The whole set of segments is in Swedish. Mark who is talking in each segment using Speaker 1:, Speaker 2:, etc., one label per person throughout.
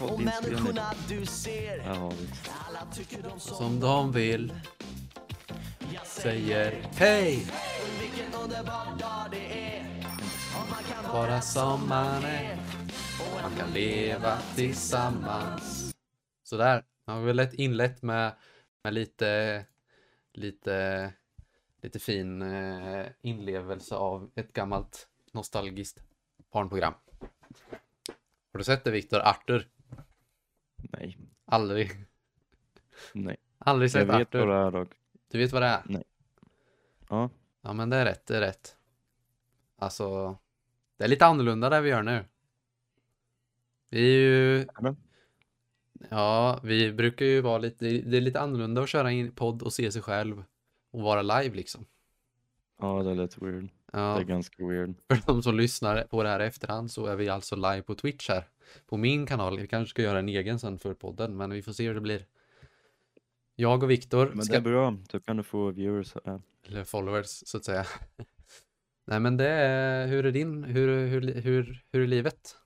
Speaker 1: Och människorna
Speaker 2: poddinspelning.
Speaker 1: du ser,
Speaker 2: Ja, visst.
Speaker 1: alla tycker de som
Speaker 3: Som de vill. Säger hej!
Speaker 1: vilken underbar dag det är. Och man kan vara
Speaker 3: Bara som man är. Man kan leva tillsammans. Sådär. Man har väl ett inlett med, med lite, lite, lite fin eh, inlevelse av ett gammalt nostalgiskt barnprogram. Har du sett det Viktor? Arthur?
Speaker 2: Nej,
Speaker 3: Aldrig.
Speaker 2: nej.
Speaker 3: Aldrig
Speaker 2: Jag
Speaker 3: sett
Speaker 2: vet
Speaker 3: Arthur.
Speaker 2: vad det är dock.
Speaker 3: Du vet vad det är?
Speaker 2: Ja,
Speaker 3: Ja men det är rätt, det är rätt. Alltså, det är lite annorlunda det vi gör nu. Vi är ju...
Speaker 2: Eller?
Speaker 3: Ja, vi brukar ju vara lite, det är lite annorlunda att köra in podd och se sig själv och vara live liksom.
Speaker 2: ja det är lite weird. Det
Speaker 3: Ja,
Speaker 2: är ganska weird.
Speaker 3: för de som lyssnar på det här i efterhand så är vi alltså live på Twitch här. På min kanal, vi kanske ska göra en egen sen för podden, men vi får se hur det blir. Jag och Viktor
Speaker 2: Men
Speaker 3: ska...
Speaker 2: det är bra, då kan du få viewers. här.
Speaker 3: Eller followers, så att säga. Nej, men det är, hur är din, hur, hur, hur, hur är livet?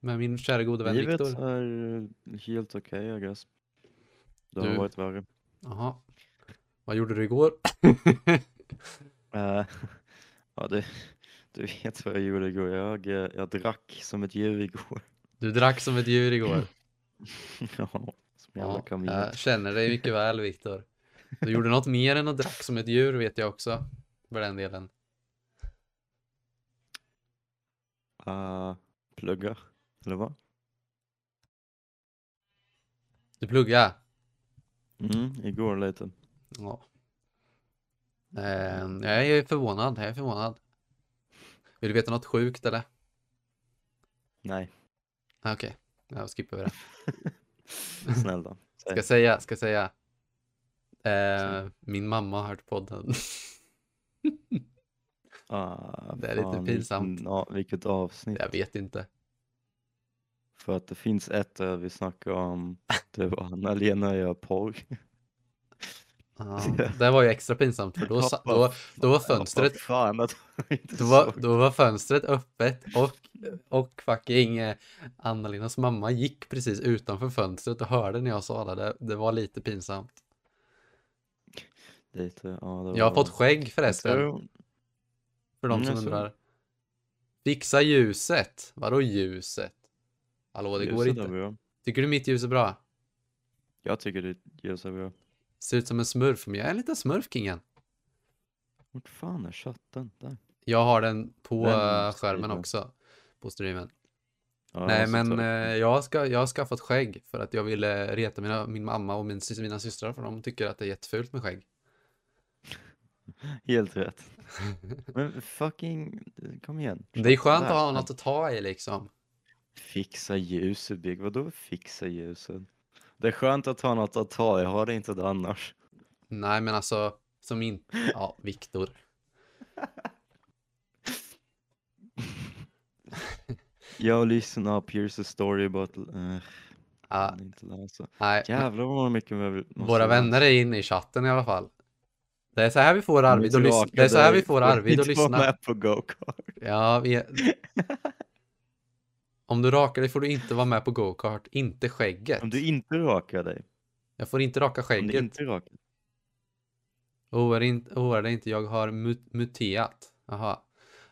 Speaker 3: Med min kära gode vän
Speaker 2: Livet
Speaker 3: Viktor.
Speaker 2: är eh, helt okej, I guess. Det har
Speaker 3: Du-
Speaker 2: varit värre.
Speaker 3: Jaha. Vad gjorde du igår?
Speaker 2: Eh, ja, du, du vet vad jag gjorde igår. Jag, eh, jag drack som ett djur igår.
Speaker 3: Du drack som ett djur igår.
Speaker 2: ja, som jävla
Speaker 3: Ja,
Speaker 2: kamin.
Speaker 3: jag känner dig mycket väl, Viktor. Du gjorde något mer än att drack som ett djur, vet jag också. För den delen.
Speaker 2: Eh, plugga, eller vad?
Speaker 3: Du pluggade.
Speaker 2: Mm, igår lite.
Speaker 3: Ja. Eh, jag är förvånad, jag är förvånad. Vill du veta något sjukt eller?
Speaker 2: Nej,
Speaker 3: Ah, Okej, jag skippar över det.
Speaker 2: snälla.
Speaker 3: Ska säga, ska säga. Eh, min mamma har hört podden.
Speaker 2: Ah,
Speaker 3: Det är lite
Speaker 2: fan,
Speaker 3: pinsamt.
Speaker 2: Vilken, ja, vilket avsnitt.
Speaker 3: Jag vet inte.
Speaker 2: För att det finns ett där vi snackar om det var Anna-Lena gör porr.
Speaker 3: Ja, det var ju extra pinsamt för då, sa- då, då var fönstret
Speaker 2: Ja, fan att jag inte
Speaker 3: då var,
Speaker 2: såg.
Speaker 3: då var fönstret öppet och, och fucking eh, Anna-Lenas mamma gick precis utanför fönstret och hörde när jag sa det. Det, det var lite pinsamt.
Speaker 2: Lite, ja, det
Speaker 3: Jag har
Speaker 2: var-
Speaker 3: fått skägg
Speaker 2: Jag
Speaker 3: förresten,
Speaker 2: tror-
Speaker 3: för de
Speaker 2: Mm,
Speaker 3: som
Speaker 2: jag ser det.
Speaker 3: undrar. Fixa ljuset. Vadå ljuset? Hallå, det går
Speaker 2: ljuset är
Speaker 3: inte.
Speaker 2: bra.
Speaker 3: Tycker du mitt ljus är bra?
Speaker 2: Jag tycker det ljus är bra.
Speaker 3: Ser ut som en smurf, men jag är en liten smurfkingen.
Speaker 2: Vart fan är chatten? Där.
Speaker 3: Jag har den på
Speaker 2: Den
Speaker 3: eh, skärmen
Speaker 2: streamen.
Speaker 3: också. På streamen.
Speaker 2: Ja,
Speaker 3: Nej,
Speaker 2: jag ska
Speaker 3: men
Speaker 2: ta-
Speaker 3: eh, jag, ska, jag har skaffat skägg för att jag ville reta mina, min mamma och min, sys- mina systrar för de tycker att det är jättefult med skägg.
Speaker 2: Helt rätt. Men fucking, kom igen.
Speaker 3: Det är skönt
Speaker 2: Där.
Speaker 3: att ha något att ta i liksom.
Speaker 2: Fixa ljuset Big, vadå fixa ljuset? Det är skönt att ha något att ta, jag har det inte det annars.
Speaker 3: Nej, men alltså som inte... Ja, Viktor.
Speaker 2: Jag lyssnar på Here's a story about... Uh,
Speaker 3: Ja,
Speaker 2: inte läsa.
Speaker 3: nej, men
Speaker 2: Jävlar vad mycket vi vill- måste
Speaker 3: våra
Speaker 2: läsa.
Speaker 3: vänner är inne i chatten i alla fall. Det är så här vi får
Speaker 2: De är
Speaker 3: Arvid att lyssna.
Speaker 2: tillbaka
Speaker 3: Det är så här
Speaker 2: där.
Speaker 3: vi får
Speaker 2: Får
Speaker 3: Arvid att
Speaker 2: inte vara
Speaker 3: lyssna.
Speaker 2: med på go-kart.
Speaker 3: Ja, vi... Om du rakar dig får du inte vara med på go-kart, inte skägget.
Speaker 2: Om du inte rakar dig.
Speaker 3: Jag får inte raka
Speaker 2: Om du
Speaker 3: skägget.
Speaker 2: inte rakar dig.
Speaker 3: Oroa dig inte, oroa dig oh, inte, jag har mut- muterat. Jaha.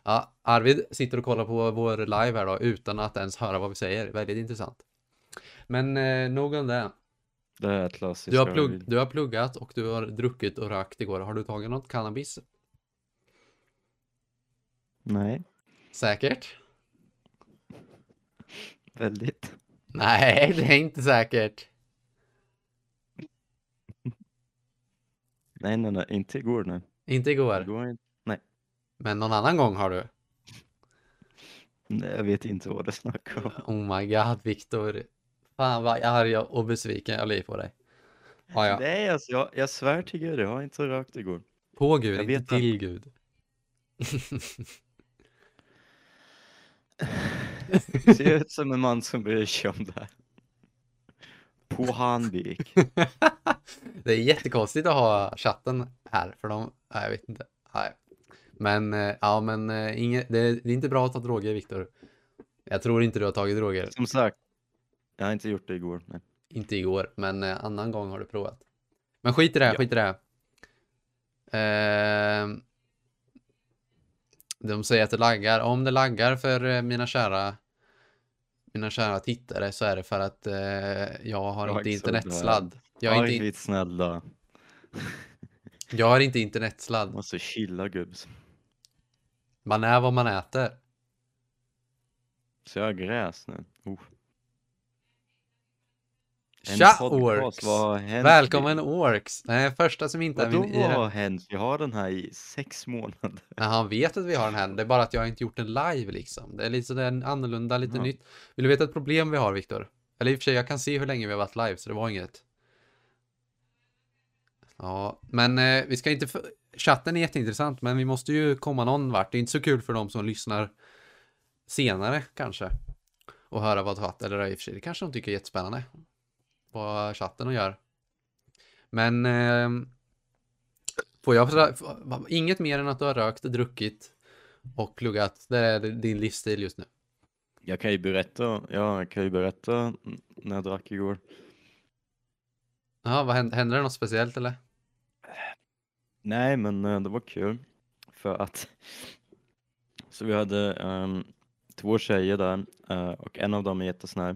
Speaker 3: Ja, Arvid sitter och kollar på vår live här då utan att ens höra vad vi säger. Väldigt intressant. Men eh, nog om det.
Speaker 2: Det här är klassiskt.
Speaker 3: Du har,
Speaker 2: jag
Speaker 3: plugg-
Speaker 2: vill-
Speaker 3: du har pluggat och du har druckit och rökt igår. Har du tagit något cannabis?
Speaker 2: Nej,
Speaker 3: Säkert?
Speaker 2: väldigt.
Speaker 3: Nej, det är inte säkert.
Speaker 2: Nej, nej, nej, inte igår nu.
Speaker 3: Inte igår,
Speaker 2: Igår, inte-
Speaker 3: men någon annan gång har du.
Speaker 2: nej, jag vet inte vad det snackar om.
Speaker 3: Oh my god, Viktor. Fan vad arg jag och besviken jag blir på dig. Ja, ja.
Speaker 2: Nej, alltså, jag, jag svär till gud, jag har inte rökt igår.
Speaker 3: På Gud,
Speaker 2: Jag
Speaker 3: inte
Speaker 2: vet
Speaker 3: till Gud.
Speaker 2: Det ser ut som en man som bryr sig om det här. På Handvik.
Speaker 3: Det är jättekonstigt att ha chatten här för de, nej, jag vet inte. Nej. Men eh, ja, men eh, inget, det, det är inte bra att ta droger Viktor. Jag tror inte du har tagit droger.
Speaker 2: Som sagt, Jag har inte gjort det igår. Nej.
Speaker 3: Inte igår, men eh, annan gång har du provat. Men skit i det, här,
Speaker 2: Ja.
Speaker 3: skit i det. här. Ehm, de säger att det laggar. Om det laggar för eh, mina kära mina kära tittare så är det för att eh, jag har
Speaker 2: Jag är
Speaker 3: inte
Speaker 2: inte så glad.
Speaker 3: internetsladd. Jag har
Speaker 2: Jag
Speaker 3: inte,
Speaker 2: inte... snälla.
Speaker 3: jag har inte internetsladd.
Speaker 2: Måste chilla gubbs.
Speaker 3: Man är vad man äter.
Speaker 2: Så jag har gräs nu. Oh. En
Speaker 3: Tja
Speaker 2: podcast,
Speaker 3: Orks!
Speaker 2: vad har hänt?
Speaker 3: Välkommen Orks! Nej, första som inte är
Speaker 2: Vadå
Speaker 3: min
Speaker 2: vad
Speaker 3: i
Speaker 2: har hänt? Vi har den här i sex månader.
Speaker 3: Nej, han vet att vi har den här. Det är bara att jag har inte gjort den live liksom. Det är lite sådär annorlunda, lite
Speaker 2: Ja.
Speaker 3: nytt. Vill du veta ett problem vi har, Viktor? Eller i och för sig, jag kan se hur länge vi har varit live, så det var inget. Ja, men eh, vi ska inte... För... Chatten är jätteintressant, men vi måste ju komma någon vart. Det är inte så kul för de som lyssnar senare kanske. Och höra vad chatten, eller i och för sig, det kanske de tycker är jättespännande. Vad chatten och gör. Men... ehm, Får jag försöka, f- va- inget mer än att du har rökt, druckit och pluggat. Det är din livsstil just nu.
Speaker 2: Jag kan ju berätta, ja, jag kan ju berätta mm, när jag drack igår.
Speaker 3: Ja, vad hände? Hände det något speciellt eller?
Speaker 2: Nej, men eh, det var kul. För att... Så vi hade ehm, två tjejer där eh, och en av dem är jättesnäll.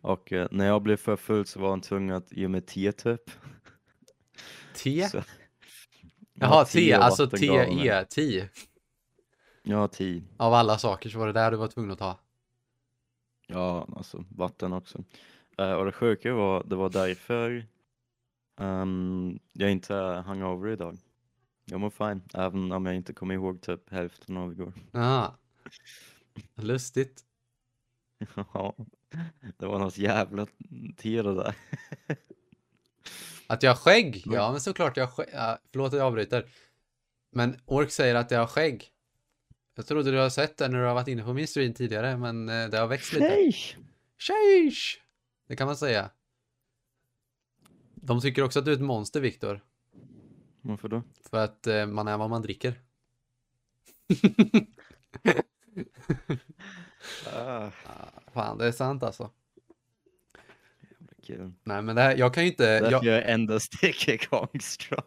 Speaker 2: Och eh, när jag blev för full så var hon tvungen att ge mig te typ.
Speaker 3: Te?
Speaker 2: Så-
Speaker 3: Jaha,
Speaker 2: te
Speaker 3: te,
Speaker 2: och
Speaker 3: alltså
Speaker 2: vatten gav hon mig.
Speaker 3: te, te.
Speaker 2: Ja, te.
Speaker 3: Av alla saker så var det där du var tvungen att ta.
Speaker 2: Ja, alltså vatten också. Eh, och det sjuka var, det var därför ehm, jag inte är hungover idag. Jag mår fine, även om jag inte kommer ihåg typ hälften av igår.
Speaker 3: Jaha. Lustigt.
Speaker 2: Ja, det var något jävla te det där.
Speaker 3: Att jag har skägg?
Speaker 2: Men-
Speaker 3: Ja, men såklart jag har skägg. Ja, förlåt att jag avbryter. Men Ork säger att jag har skägg. Jag trodde du har sett det när du har varit inne på min stream tidigare, men eh, det har växt lite.
Speaker 2: Nej!
Speaker 3: Sheesh! Det kan man säga. De tycker också att du är ett monster, Viktor.
Speaker 2: Varför då?
Speaker 3: För att eh, man är vad man dricker. Ah, Fan, det är sant alltså.
Speaker 2: Kul.
Speaker 3: Nej, men det här, jag kan ju inte...
Speaker 2: Därför
Speaker 3: Jag,
Speaker 2: jag är endast K. Kongstrong.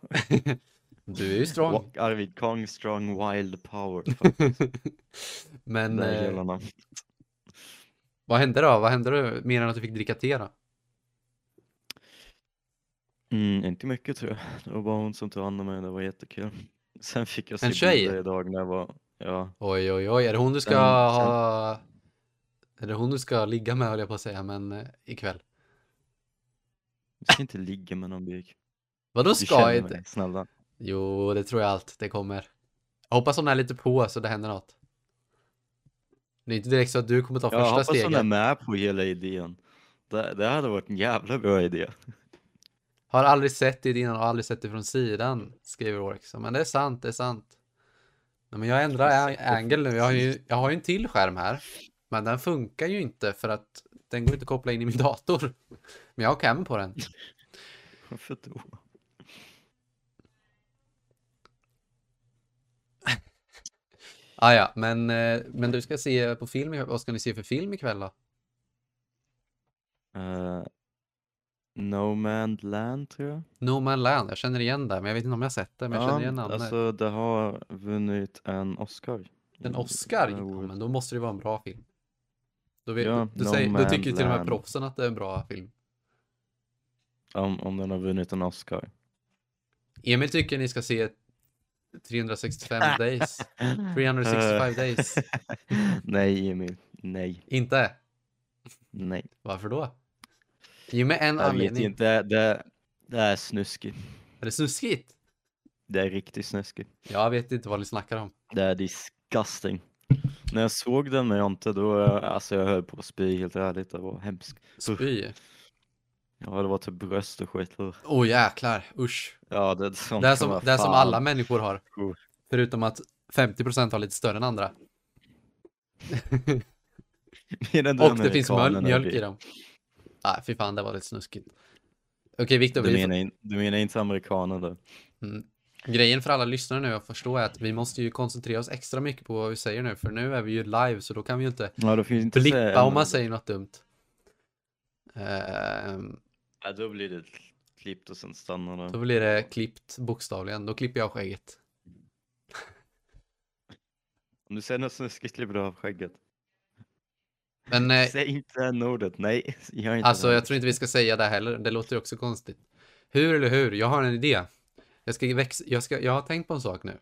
Speaker 3: du är ju strong.
Speaker 2: Och Arvid Kongstrong Wild Power. fan,
Speaker 3: Men
Speaker 2: det är
Speaker 3: eh,
Speaker 2: hela namn.
Speaker 3: vad hände då? Vad hände då? Mer än att du fick dricka te då?
Speaker 2: Mm, inte mycket tror jag. Det var bara hon som tog hand om mig, det var jättekul. Sen fick jag
Speaker 3: En
Speaker 2: se
Speaker 3: tjej?
Speaker 2: bilder idag när jag var... Ja,
Speaker 3: Oj, oj, oj. Är det hon du ska
Speaker 2: Mm, Sen- sen-
Speaker 3: ha... Är det hon du ska ligga med, höll jag på att säga, men eh, ikväll.
Speaker 2: jag ska inte ligga med någon Birk.
Speaker 3: Vadå
Speaker 2: Du
Speaker 3: ska
Speaker 2: känner
Speaker 3: inte?
Speaker 2: mig, snälla.
Speaker 3: Jo, det tror jag allt. Det kommer. Jag hoppas hon är lite på så det händer något. Det är inte direkt så att du kommer ta
Speaker 2: Jag
Speaker 3: första
Speaker 2: hoppas hon är
Speaker 3: steget.
Speaker 2: med på hela idén. Det, det hade varit en jävla bra idé.
Speaker 3: Har aldrig sett det innan och aldrig sett det från sidan, skriver Orks. Men det är sant, det är sant. Nej, men jag ändrar a- angle nu. Jag har, ju, jag har ju en till skärm här. Men den funkar ju inte för att den går inte att koppla in i min dator. Men jag har cam på den.
Speaker 2: Varför då?
Speaker 3: Ah, ja, men, eh, men du ska se på film. ikväll. Vad ska ni se för film ikväll då?
Speaker 2: Eh, no Man's Land tror jag.
Speaker 3: No Man Land. Jag känner igen det, men jag vet inte om jag har sett det. Men jag känner igen namnet.
Speaker 2: alltså det har vunnit en Oscar. Mm,
Speaker 3: En
Speaker 2: i
Speaker 3: Oscar?
Speaker 2: det här
Speaker 3: Ja,
Speaker 2: året.
Speaker 3: men då måste det vara en bra film. Då, vet,
Speaker 2: Ja,
Speaker 3: du,
Speaker 2: No
Speaker 3: du, säger, du tycker ju till och med
Speaker 2: Man
Speaker 3: proffsen att det är en bra film.
Speaker 2: Om, om den har vunnit en Oscar.
Speaker 3: Emil tycker ni ska se 365 days. Ah.
Speaker 2: Eh.
Speaker 3: 365 days.
Speaker 2: Nej Emil, nej,
Speaker 3: Inte?
Speaker 2: nej.
Speaker 3: Varför då? Ge mig en
Speaker 2: Jag vet
Speaker 3: anledning.
Speaker 2: inte, det, det, det är snuskigt.
Speaker 3: Är det snuskigt?
Speaker 2: Det är riktigt snuskigt.
Speaker 3: Jag vet inte vad ni snackar om.
Speaker 2: Det är disgusting. När jag såg den men jag inte då, alltså jag höll på att spy helt ärligt, det var hemskt.
Speaker 3: Spy.
Speaker 2: Ja det var typ bröst och skit. Usch.
Speaker 3: Åh oh, jäklar, usch.
Speaker 2: Ja det är sånt
Speaker 3: Det är som,
Speaker 2: vad
Speaker 3: det är som
Speaker 2: fan.
Speaker 3: alla människor har.
Speaker 2: Usch.
Speaker 3: Förutom att 50% har lite större än andra.
Speaker 2: Medan
Speaker 3: Och det finns mjöl-
Speaker 2: amerikanerna
Speaker 3: mjölk
Speaker 2: blir-
Speaker 3: i dem. Nej, fy fan, det var lite snuskigt. Okej, Viktor,
Speaker 2: Du
Speaker 3: vi
Speaker 2: menar, in- du menar inte amerikaner då?
Speaker 3: Grejen för alla lyssnare nu, jag förstår, är att vi måste ju koncentrera oss extra mycket på vad vi säger nu, för nu är vi ju live, så då kan vi ju inte
Speaker 2: Ja, då finns inte så här
Speaker 3: blippa om
Speaker 2: en-
Speaker 3: man säger något dumt. Ehm,
Speaker 2: Ja, då blir det klippt och sen stannar det.
Speaker 3: Då blir det klippt bokstavligen. Då klipper jag skägget.
Speaker 2: Om du säger något snuskigt klipper du av skägget.
Speaker 3: Men eh,
Speaker 2: Säg inte det ordet, nej. Gör inte
Speaker 3: Alltså
Speaker 2: det.
Speaker 3: jag tror inte vi ska säga det heller, det låter ju också konstigt. Hur eller hur, jag har en idé. Jag, ska växa, jag, ska, jag har tänkt på en sak nu.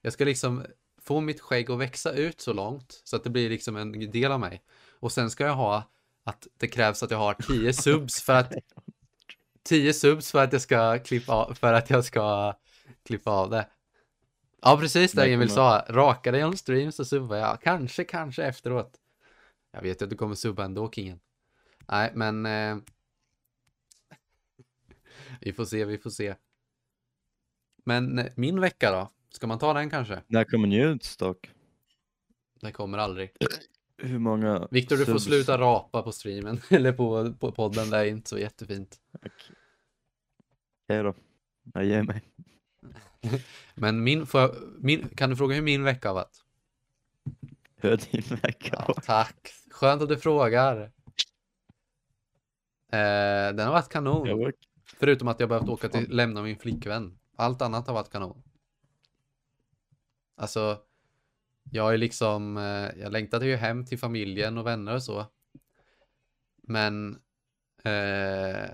Speaker 3: Jag ska liksom få mitt skägg att växa ut så långt så att det blir liksom en del av mig. Och sen ska jag ha att det krävs att jag har 10 subs för att 10 subs för att jag ska klippa av, för att jag ska klippa av det. Ja, precis det
Speaker 2: Det
Speaker 3: Emil
Speaker 2: kommer-
Speaker 3: sa. Raka dig on stream så subbar jag. Kanske, kanske efteråt. Jag vet ju att du kommer subba ändå, Kingen. Nej, men... Eh, vi får se, vi får se. Men eh, min vecka då? Ska man ta den kanske?
Speaker 2: När kommer ni ut dock?
Speaker 3: Det kommer aldrig.
Speaker 2: Hur många...
Speaker 3: Viktor, du får
Speaker 2: subs-
Speaker 3: sluta rapa på streamen. Eller på, på podden, det är inte så jättefint.
Speaker 2: Okej då. Jag ger mig.
Speaker 3: Men min, får jag, min, kan du fråga hur min vecka har varit?
Speaker 2: Hör din vecka.
Speaker 3: Ja, tack. Skönt att du frågar. Eh, den har varit kanon.
Speaker 2: Jag orkar.
Speaker 3: Förutom att jag behövt åka till, lämna min flickvän. Allt annat har varit kanon. Alltså, jag är liksom, eh, jag längtade ju hem till familjen och vänner och så. Men, eh,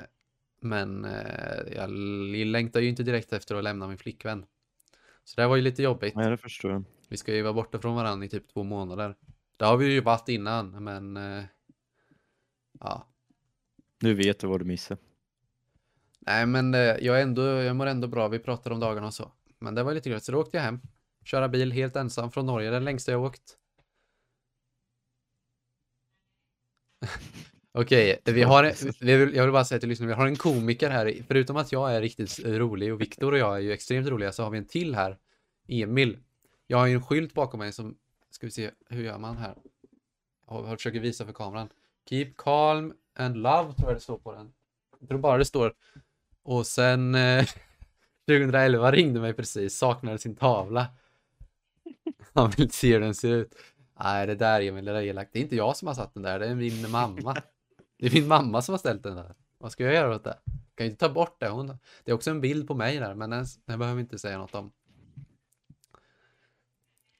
Speaker 3: men eh, jag l- längtar ju inte direkt efter att lämna min flickvän. Så det här var ju lite jobbigt.
Speaker 2: Nej, det förstår jag.
Speaker 3: Vi ska ju vara borta från varandra i typ två månader. Det har vi ju varit innan, men eh, ja,
Speaker 2: Nu vet du vad du missar.
Speaker 3: Nej, men eh, jag, är ändå, jag mår ändå bra. Vi pratar om dagarna och så. Men det var lite gröt, så då åkte jag hem. Köra bil helt ensam från Norge, den längsta jag åkt. Okej, vi har, vi vill, jag vill bara säga till lyssnarna, vi har en komiker här. i- Förutom att jag är riktigt rolig och Viktor och jag är ju extremt roliga så har vi en till här, Emil. Jag har ju en skylt bakom mig som, ska vi se, hur gör man här? Jag har- försöker visa för kameran. Keep calm and love tror jag det står på den. Jag tror bara det står och sen eh, 2011 ringde mig precis, saknade sin tavla. Han vill inte se hur den ser ut. Nej, det där Emil, det där är elakt. Det är inte jag som har satt den där, det är min mamma. Det är min mamma som har ställt den där. Vad ska jag göra åt det? Jag kan ju inte ta bort det. Hon, det är också en bild på mig där, men den, den behöver vi inte säga något om.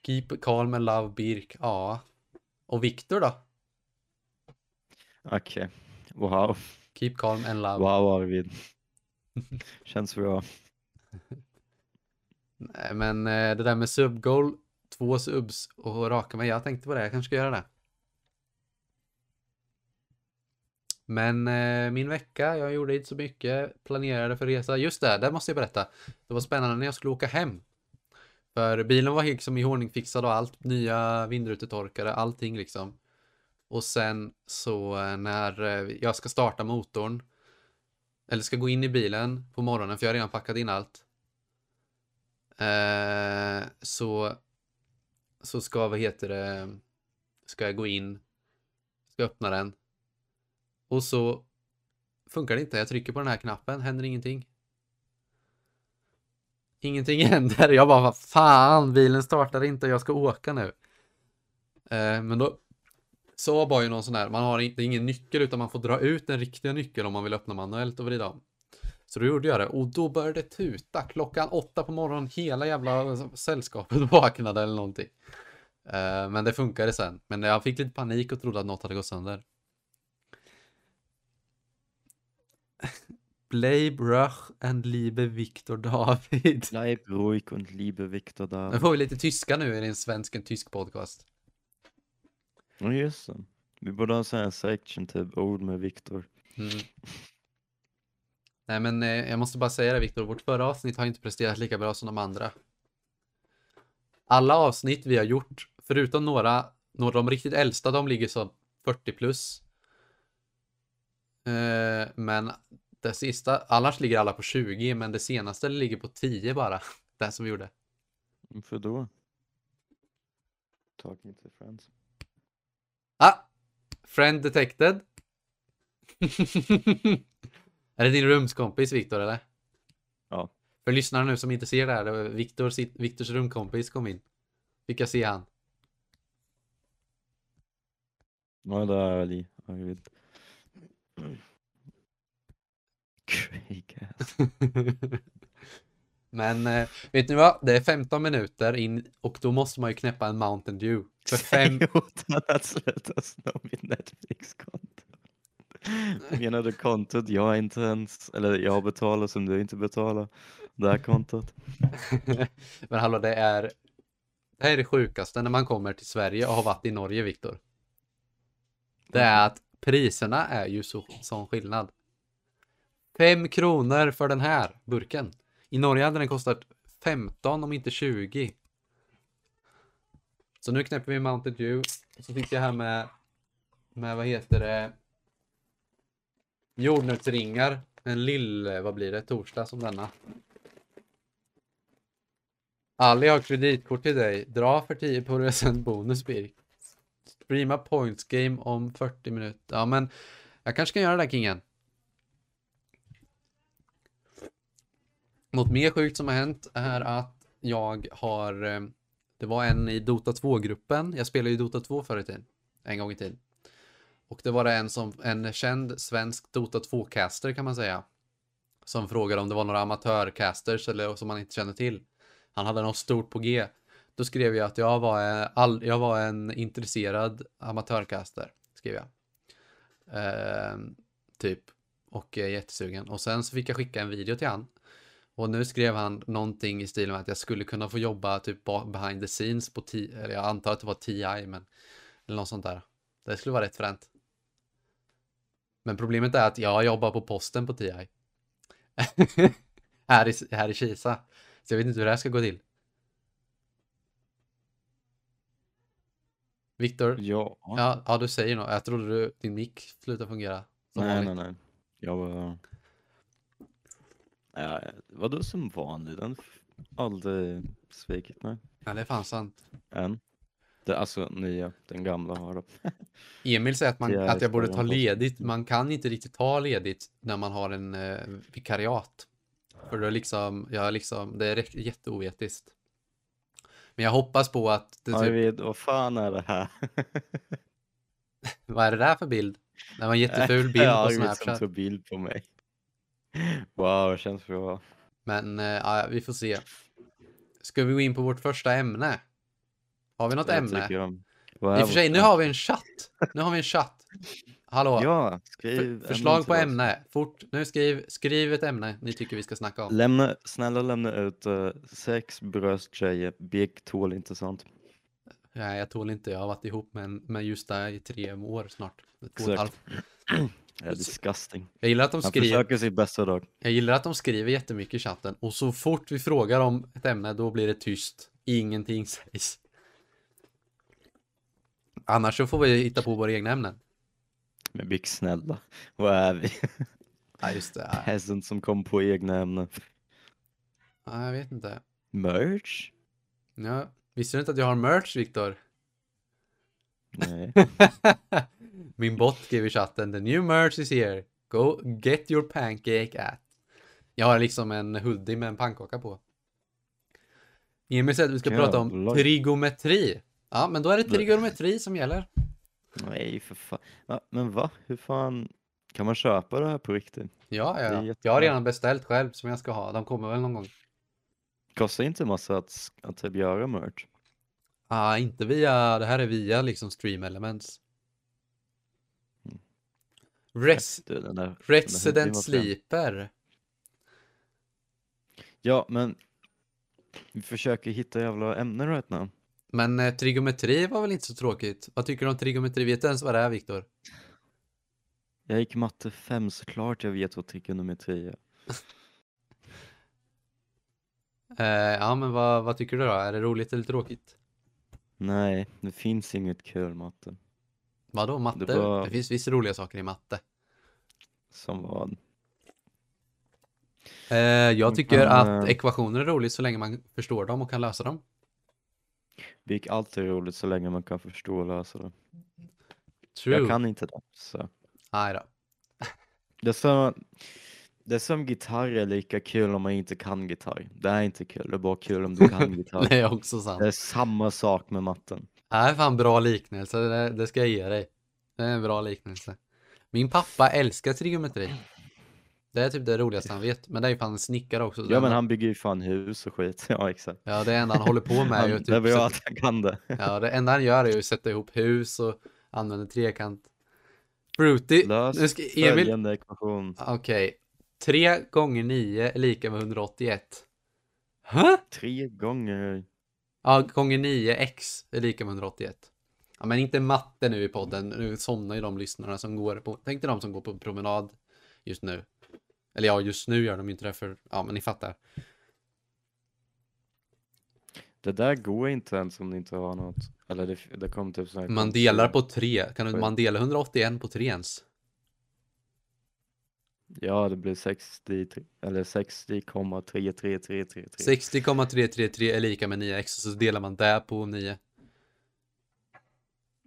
Speaker 3: Keep calm and love Birk. Ja. Och Viktor då?
Speaker 2: Okej. Wow.
Speaker 3: Keep calm and love.
Speaker 2: Wow Arvid. Känns bra.
Speaker 3: Nej, men eh, det där med subgoal, två subs och raka mig. Jag tänkte på det, jag kanske ska göra det. Men eh, min vecka, jag gjorde inte så mycket, planerade för resa. Just det, det måste jag berätta. Det var spännande när jag skulle åka hem. För bilen var liksom i ordning fixad och allt, nya vindrutetorkare, allting liksom. Och sen så eh, när eh, jag ska starta motorn, eller ska gå in i bilen på morgonen, för jag har redan packat in allt. Eh, så, så ska, vad heter det, ska jag gå in, ska öppna den. Och så funkar det inte. Jag trycker på den här knappen, händer ingenting. Ingenting händer. Jag bara, vad fan, bilen startar inte och jag ska åka nu. Eh, men då sa bara ju någon sån här, man har inte ingen nyckel utan man får dra ut den riktiga nyckeln om man vill öppna manuellt och vrida om. Så då gjorde jag det och då började det tuta klockan åtta på morgonen. Hela jävla sällskapet vaknade eller någonting. Eh, Men det funkade sen. Men jag fick lite panik och trodde att något hade gått sönder. Blej Bröch and liebe Viktor David.
Speaker 2: Bleib ruhig und liebe Viktor
Speaker 3: Nu
Speaker 2: da.
Speaker 3: får vi lite tyska nu i en svensk en tysk podcast.
Speaker 2: Ja just det. Vi borde ha så här en section typ ord med Viktor.
Speaker 3: Mm. Nej men eh, jag måste bara säga det Viktor, vårt förra avsnitt har inte presterat lika bra som de andra. Alla avsnitt vi har gjort, förutom några, några de riktigt äldsta, de ligger som 40 plus. Eh, men det sista, annars ligger alla på 20, men det senaste ligger på 10 bara. Det som vi gjorde.
Speaker 2: Varför då? Talking to friends.
Speaker 3: Ah! Friend detected. är det din rumskompis Viktor eller?
Speaker 2: Ja.
Speaker 3: För lyssnarna nu som inte ser det här, det var Viktor, sitt- Viktors rumskompis kom in. Vilka ser han?
Speaker 2: Ja det är Ali Arvid.
Speaker 3: Men eh, vet ni vad? Det är 15 minuter in och då måste man ju knäppa en Mountain Dew. För fem...
Speaker 2: Säg åt honom att sluta sno mitt Netflix-konto. Menar du kontot jag inte ens, eller jag betalar som du inte betalar? Det här kontot?
Speaker 3: Men hallå, det är... Det här är det sjukaste när man kommer till Sverige och har varit i Norge, Viktor. Det är att priserna är ju så, sån skillnad. Fem kronor för den här burken. I Norge hade den kostat 15 om inte 20. Så nu knäpper vi Mountain Dew. Och så fick jag här med, med vad heter det? Jordnötsringar. En lill, vad blir det, torsdag som denna. Ali har kreditkort till dig. Dra för 10% bonus Birk. Streama points game om 40 minuter. Ja men, jag kanske kan göra det där Kingen. Något mer sjukt som har hänt är att jag har, eh, det var en i Dota 2-gruppen, jag spelade ju Dota 2 förr i tiden, en gång i tiden. Och det var det en, som, en känd svensk Dota 2-caster kan man säga, som frågade om det var några amatörcasters eller som man inte kände till. Han hade något stort på G. Då skrev jag att jag var, eh, all, jag var en intresserad amatörcaster, skrev jag. Ehm, typ, och eh, jättesugen. Och sen så fick jag skicka en video till han och nu skrev han någonting i stil med att jag skulle kunna få jobba typ ba- behind the scenes på T- eller jag antar att det var TI, men eller något sånt där. Det skulle vara rätt fränt. Men problemet är att jag jobbar på posten på TI. här, i, här i Kisa. Så jag vet inte hur det här ska gå till. Viktor,
Speaker 2: Ja.
Speaker 3: ja, ja, du säger något. Jag trodde du, din mick slutade fungera. som
Speaker 2: nej,
Speaker 3: vanligt.
Speaker 2: nej, nej. Jag var... Ja, vadå som vanligt? Den f- aldrig svikit mig.
Speaker 3: Ja, det är fan sant.
Speaker 2: Än. Det, alltså nya, den gamla har det.
Speaker 3: Emil säger att, man,
Speaker 2: Det är
Speaker 3: att jag borde ta
Speaker 2: historien på.
Speaker 3: ledigt. Man kan inte riktigt ta ledigt när man har en eh, vikariat. För då liksom, jag liksom, det är rätt- jätteoetiskt. Men jag hoppas på att, det,
Speaker 2: Aj,
Speaker 3: typ,
Speaker 2: vid, vad fan är det här?
Speaker 3: vad är det där för bild? Det var en jätteful bild
Speaker 2: ja,
Speaker 3: på
Speaker 2: Arvid som
Speaker 3: Snapchat.
Speaker 2: tog bild på mig. Wow, känns bra.
Speaker 3: Men eh, ja, vi får se. Ska vi gå in på vårt första ämne? Har vi något
Speaker 2: Jag
Speaker 3: ämne?
Speaker 2: tycker om-
Speaker 3: I
Speaker 2: Vad är
Speaker 3: och för sig,
Speaker 2: vårt
Speaker 3: nu har vi en chatt. Nu har vi en chatt. Hallå,
Speaker 2: Ja,
Speaker 3: för-
Speaker 2: skriv
Speaker 3: förslag på
Speaker 2: till oss.
Speaker 3: ämne. Fort, nu skriv, skriv ett ämne ni tycker vi ska snacka om.
Speaker 2: Lämna, snälla lämna ut eh, sex bröst tjejer, big tål inte sånt.
Speaker 3: Nej, jag tål inte. Jag har varit ihop med, en- med just det i tre år snart. Två och ett
Speaker 2: Exakt.
Speaker 3: halvt.
Speaker 2: Det är disgusting.
Speaker 3: Jag gillar att de
Speaker 2: Han
Speaker 3: skriver.
Speaker 2: försöker sitt bästa dag.
Speaker 3: Jag gillar att de skriver jättemycket i chatten och så fort vi frågar om ett ämne då blir det tyst. Ingenting sägs. Annars så får vi hitta på våra egna ämnen.
Speaker 2: Men big snälla, vad är vi?
Speaker 3: Ja, just det. Ja,
Speaker 2: Peasant som kom på egna ämnen.
Speaker 3: Ja, jag vet inte.
Speaker 2: Merch?
Speaker 3: Ja. Visste du inte att jag har merch, Viktor?
Speaker 2: Nej.
Speaker 3: Min bot skrev i chatten “The new merch is here. Go get your pancake at”. Jag har liksom en hoodie med en pannkaka på. Emil säger att vi ska prata om
Speaker 2: Jävlar.
Speaker 3: trigonometri. Ja, men då är det
Speaker 2: Det-
Speaker 3: trigonometri som gäller.
Speaker 2: Nej för fan. Va? Men va? Hur fan? Kan man köpa det här på riktigt?
Speaker 3: Ja,
Speaker 2: är
Speaker 3: ja. ja. Jag
Speaker 2: jättebra.
Speaker 3: har redan beställt själv som jag ska ha. De kommer väl någon gång.
Speaker 2: Kostar inte en massa att, s- att typ göra merch?
Speaker 3: Ah, inte via, det här är via liksom stream elements. Res,
Speaker 2: Du, den där- den där hoodien
Speaker 3: resident
Speaker 2: Mm. var frän.
Speaker 3: sleeper.
Speaker 2: Ja, men vi försöker hitta jävla ämnen right now.
Speaker 3: Men eh, trigonometri var väl inte så tråkigt? Vad tycker du om trigonometri? Vet du ens vad det är, Viktor?
Speaker 2: Jag gick matte 5 såklart jag vet vad trigonometri är.
Speaker 3: Eh, ja, men vad, vad tycker du då? Är det roligt eller tråkigt?
Speaker 2: Nej, det finns inget kul matte.
Speaker 3: Vadå matte? Det,
Speaker 2: Det var-
Speaker 3: finns vissa roliga saker i matte.
Speaker 2: Som vad?
Speaker 3: Eh, jag
Speaker 2: Man
Speaker 3: tycker
Speaker 2: kan,
Speaker 3: att
Speaker 2: eh,
Speaker 3: ekvationer är roligt så länge man förstår dem och kan lösa dem.
Speaker 2: Det gick alltid roligt så länge man kan förstå och lösa det.
Speaker 3: True.
Speaker 2: Jag kan inte det. Så.
Speaker 3: Nej då.
Speaker 2: Det, är som, det är som gitarr är lika kul om man inte kan gitarr. Det är inte kul, det är bara kul om du kan gitarr.
Speaker 3: Det är också sant.
Speaker 2: Det är samma sak med matten.
Speaker 3: Det här är fan bra liknelse. Det, det ska jag ge dig. Det är en bra liknelse. Min pappa älskar trigonometri. Det är typ det roligaste han vet. Men det är ju fan en snickare också.
Speaker 2: Ja men han bygger ju fan hus och skit. Ja exakt.
Speaker 3: Ja, det enda han håller på med är ju
Speaker 2: Han,
Speaker 3: typ...
Speaker 2: det var ju
Speaker 3: sätta-
Speaker 2: att han kan det.
Speaker 3: Ja, det enda han gör är ju att sätta ihop hus och använder trekant. Fruity.
Speaker 2: Lös
Speaker 3: Nu ska Emil...
Speaker 2: följande ekvation.
Speaker 3: Okej. tre 3 gånger 9 är lika med 181. Huh?
Speaker 2: Tre gånger.
Speaker 3: Ja, gånger 9x är lika med 181. Ja, men inte matte nu i podden. Nu somnar ju de lyssnarna som går på... Tänk dig de som går på promenad just nu. Eller ja, just nu gör de ju inte det för... Ja, men ni fattar.
Speaker 2: Det där går inte ens om du inte har något. Eller det, det kom typ sån här
Speaker 3: Man
Speaker 2: konstig-
Speaker 3: delar på 3. Kan du,
Speaker 2: Oj.
Speaker 3: man dela 181 på 3 ens?
Speaker 2: Ja det blir 60 eller 60,33333.
Speaker 3: 60,333 är lika med 9x och så delar man det på 9.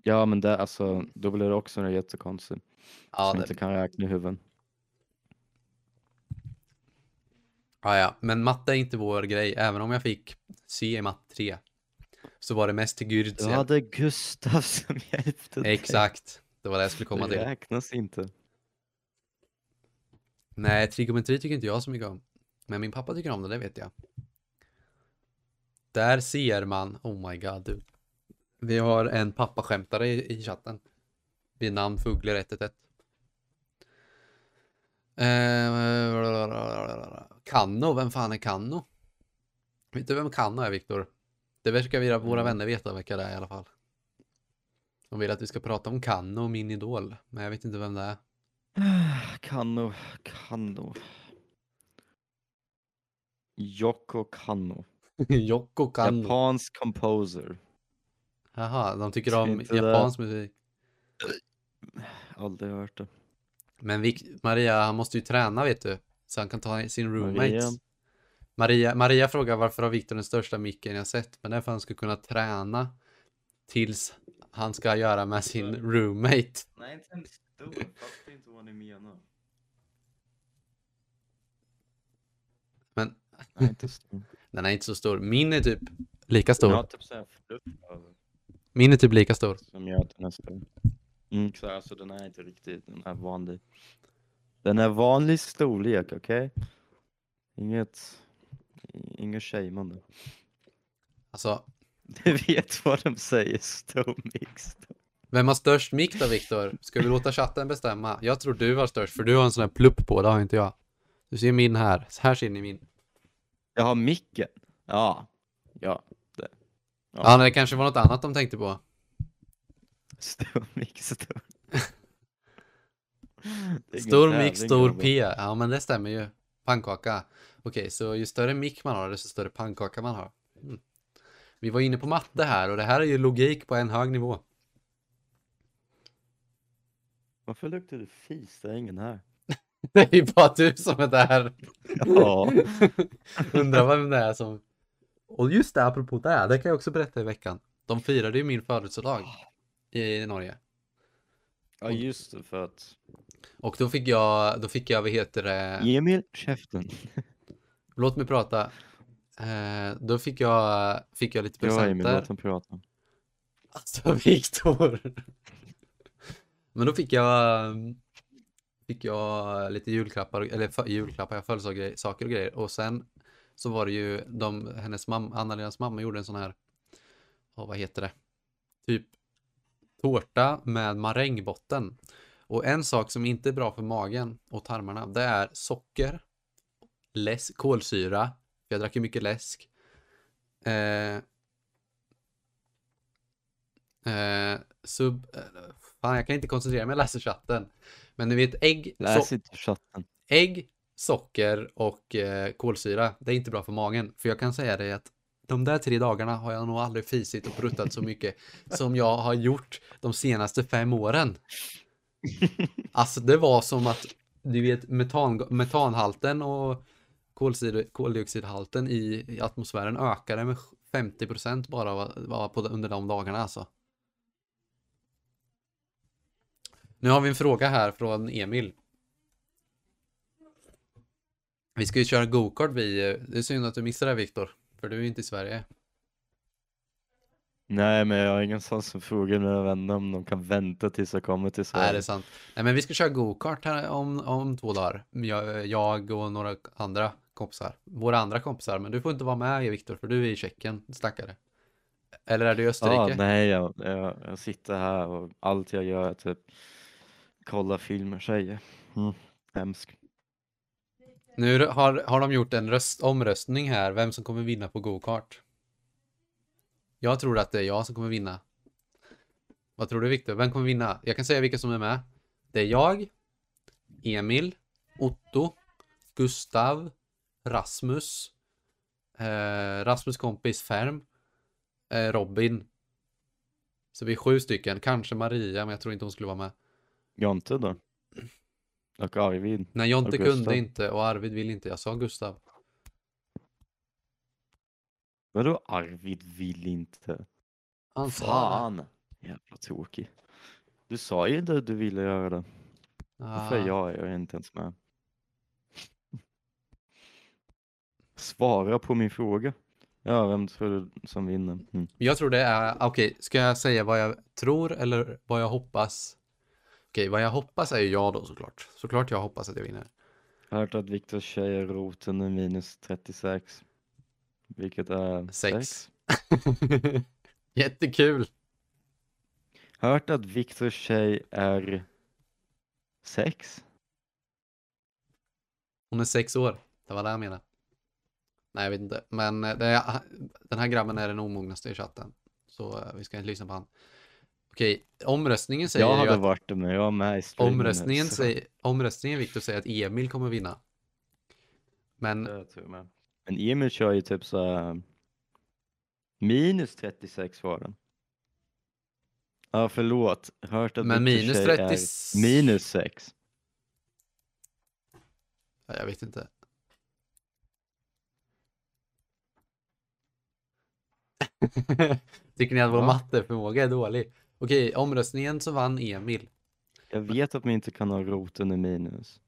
Speaker 2: Ja men det alltså då blir det också något jättekonstigt.
Speaker 3: Ja,
Speaker 2: som
Speaker 3: det,
Speaker 2: inte kan räkna i huvudet.
Speaker 3: ja, ja, men matte är inte vår grej. Även om jag fick C i matte 3 så var det mest till Gürtz.
Speaker 2: Du hade Gustav som hjälpte dig.
Speaker 3: Exakt. Det var det jag skulle komma
Speaker 2: Det
Speaker 3: till.
Speaker 2: räknas inte.
Speaker 3: Nej, trigonometri tycker inte jag så mycket om. Men min pappa tycker om det, det vet jag. Där ser man, oh my god du. Vi har en pappaskämtare i, i chatten. Vid namn Fugler111. Eh, Kanno, vem fan är Kanno? Vet du vem Kanno är Viktor? Det verkar vi, våra vänner veta vilka det är i alla fall. De vill att vi ska prata om Kanno, min idol. Men jag vet inte vem det är.
Speaker 2: Kanno, Kanno. Yoko Kanno.
Speaker 3: Jocko Kanno.
Speaker 2: Japansk composer.
Speaker 3: Jaha, de tycker
Speaker 2: Så
Speaker 3: om
Speaker 2: inte det-
Speaker 3: japansk musik.
Speaker 2: Aldrig hört det.
Speaker 3: Men Vic- Maria, han måste ju träna vet du. Så han kan ta sin
Speaker 2: Maria.
Speaker 3: roommates. Maria, Maria frågar varför har Viktor den största micken jag sett? Men det är för att han ska kunna träna tills han ska göra med sin roommate.
Speaker 2: Nej, inte en stor. Jag fattar inte vad ni menar.
Speaker 3: Men
Speaker 2: Nej, inte stor.
Speaker 3: den är inte så stor. Min är typ lika
Speaker 2: Jag
Speaker 3: stor.
Speaker 2: har typ såhär fluff över
Speaker 3: Min är typ lika stor.
Speaker 2: som gör att den är stor. Mm, så alltså den är inte riktigt, den är vanlig. Den är vanlig storlek, okej? Inget, inget shameande.
Speaker 3: Alltså,
Speaker 2: Du vet vad de säger, stor mix.
Speaker 3: vem har störst mick då Viktor? Ska vi låta chatten bestämma? Jag tror du har störst för du har en sån här plupp på, det har inte jag. Du ser min här. Här ser ni min.
Speaker 2: Jag har micken. Ja. Ja. Det.
Speaker 3: Ja, ja det kanske var något annat de tänkte på.
Speaker 2: Stor mix, stor. Det är ingen
Speaker 3: Stor mick,
Speaker 2: tävling,
Speaker 3: stor
Speaker 2: grabbar.
Speaker 3: P. Ja, men det stämmer ju. Pannkaka. Okej, så ju större mick man har, desto större pannkaka man har. Mm. Vi var inne på matte här och det här är ju logik på en hög nivå.
Speaker 2: Varför luktar du fis? Det är ingen här.
Speaker 3: Det är ju bara du som är där.
Speaker 2: Ja.
Speaker 3: Undrar vem det är som... Och just det, apropå det, här, det kan jag också berätta i veckan. De firade ju min födelsedag i Norge.
Speaker 2: ja, just det för att...
Speaker 3: Och då fick jag, då fick jag, vad heter det?
Speaker 2: Emil, käften.
Speaker 3: Låt mig prata. Eh, då fick jag, fick jag lite
Speaker 2: Ja, Emil,
Speaker 3: presenter.
Speaker 2: låt honom prata.
Speaker 3: Alltså Viktor. Men då fick jag um, fick jag lite julklappar, eller fö- julklappar, jag födelsedagsgrejer, saker och grejer. Och sen så var det ju de, hennes mamma, Anna-Lenas mamma gjorde en sån här, åh, vad heter det? Typ tårta med marängbotten. Och en sak som inte är bra för magen och tarmarna, det är socker, läsk, kolsyra, för jag drack ju mycket läsk. Eh, Eh, sub... eh, Fan, jag kan inte koncentrera mig, jag läser chatten. Men ni vet, ägg,
Speaker 2: Läs
Speaker 3: so-
Speaker 2: inte chatten.
Speaker 3: ägg socker och eh, kolsyra, det är inte bra för magen. För jag kan säga dig att de där tre dagarna har jag nog aldrig fisit och pruttat så mycket som jag har gjort de senaste fem åren. Alltså det var som att, du vet, metan, metanhalten och kolsyra- koldioxidhalten i, i atmosfären ökade med 50% bara av- bara på, under de dagarna alltså. Nu har vi en fråga här från Emil. Vi ska ju köra eh, gokart vi. Det är synd att du missar det här, Viktor. För du är ju inte i Sverige.
Speaker 2: Nej, men jag har ingenstans som frågar mina vänner om de kan vänta tills jag kommer till Sverige.
Speaker 3: Nej, det är sant. Nej, men vi ska köra go-kart här om, om två dagar. Jag, jag och några andra kompisar. Våra andra kompisar. Men du får inte vara med, Viktor, för du är i Tjeckien, stackare. Eller är du i
Speaker 2: Ja,
Speaker 3: Österrike?
Speaker 2: nej, jag, jag, jag sitter här och allt jag gör är typ kolla filmer, tjejer. Mm. Hemskt.
Speaker 3: nu har, har de gjort en röst, omröstning här, vem som kommer vinna på go-kart. Jag tror att det är jag som kommer vinna. Vad tror du, Viktor? Vem kommer vinna? Jag kan säga vilka som är med. Det är jag, Emil, Otto, Gustav, Rasmus, eh, Rasmus kompis Färm, eh, Robin. Så vi är sju stycken, kanske Maria, men jag tror inte hon skulle vara med.
Speaker 2: Jonte då? Och Arvid?
Speaker 3: Nej, Jonte
Speaker 2: Och Gustav.
Speaker 3: kunde inte och Arvid vill inte. Jag sa Gustav.
Speaker 2: Vadå Arvid vill inte?
Speaker 3: Han sa det.
Speaker 2: Fan! Jävla tråkig. Du sa ju inte att du ville göra det. Varför är
Speaker 3: Ah.
Speaker 2: jag? Jag är inte ens med. Svara på min fråga. Ja, vem tror du som vinner? Mm.
Speaker 3: Jag tror det är, okej, ska jag säga vad jag tror eller vad jag hoppas? Okej, vad jag hoppas är ju jag då såklart. Såklart jag hoppas att jag vinner.
Speaker 2: Hört att Viktors tjej är roten är minus 36. Vilket är
Speaker 3: Sex.
Speaker 2: sex.
Speaker 3: Jättekul!
Speaker 2: Hört att Viktors tjej är sex.
Speaker 3: Hon är sex år. Det var det jag menade. Nej, jag vet inte. Men eh, det är, den här grabben är den omognaste i chatten. Så eh, vi ska inte lyssna på han. Okej, omröstningen säger
Speaker 2: jag
Speaker 3: ju
Speaker 2: hade
Speaker 3: att
Speaker 2: varit det men jag var med i streamen.
Speaker 3: omröstningen, säger, omröstningen Viktor säger att Emil kommer vinna. Men
Speaker 2: Men Emil kör ju typ så här. Minus 36 var den. Ja förlåt. Hört att
Speaker 3: Men
Speaker 2: Viktors
Speaker 3: minus
Speaker 2: tjej
Speaker 3: 30
Speaker 2: är minus 6.
Speaker 3: Ja, jag vet inte. Tycker ni att vår
Speaker 2: Ja.
Speaker 3: matteförmåga är dålig? Okej, omröstningen så vann Emil.
Speaker 2: Jag vet att man inte kan ha roten i minus.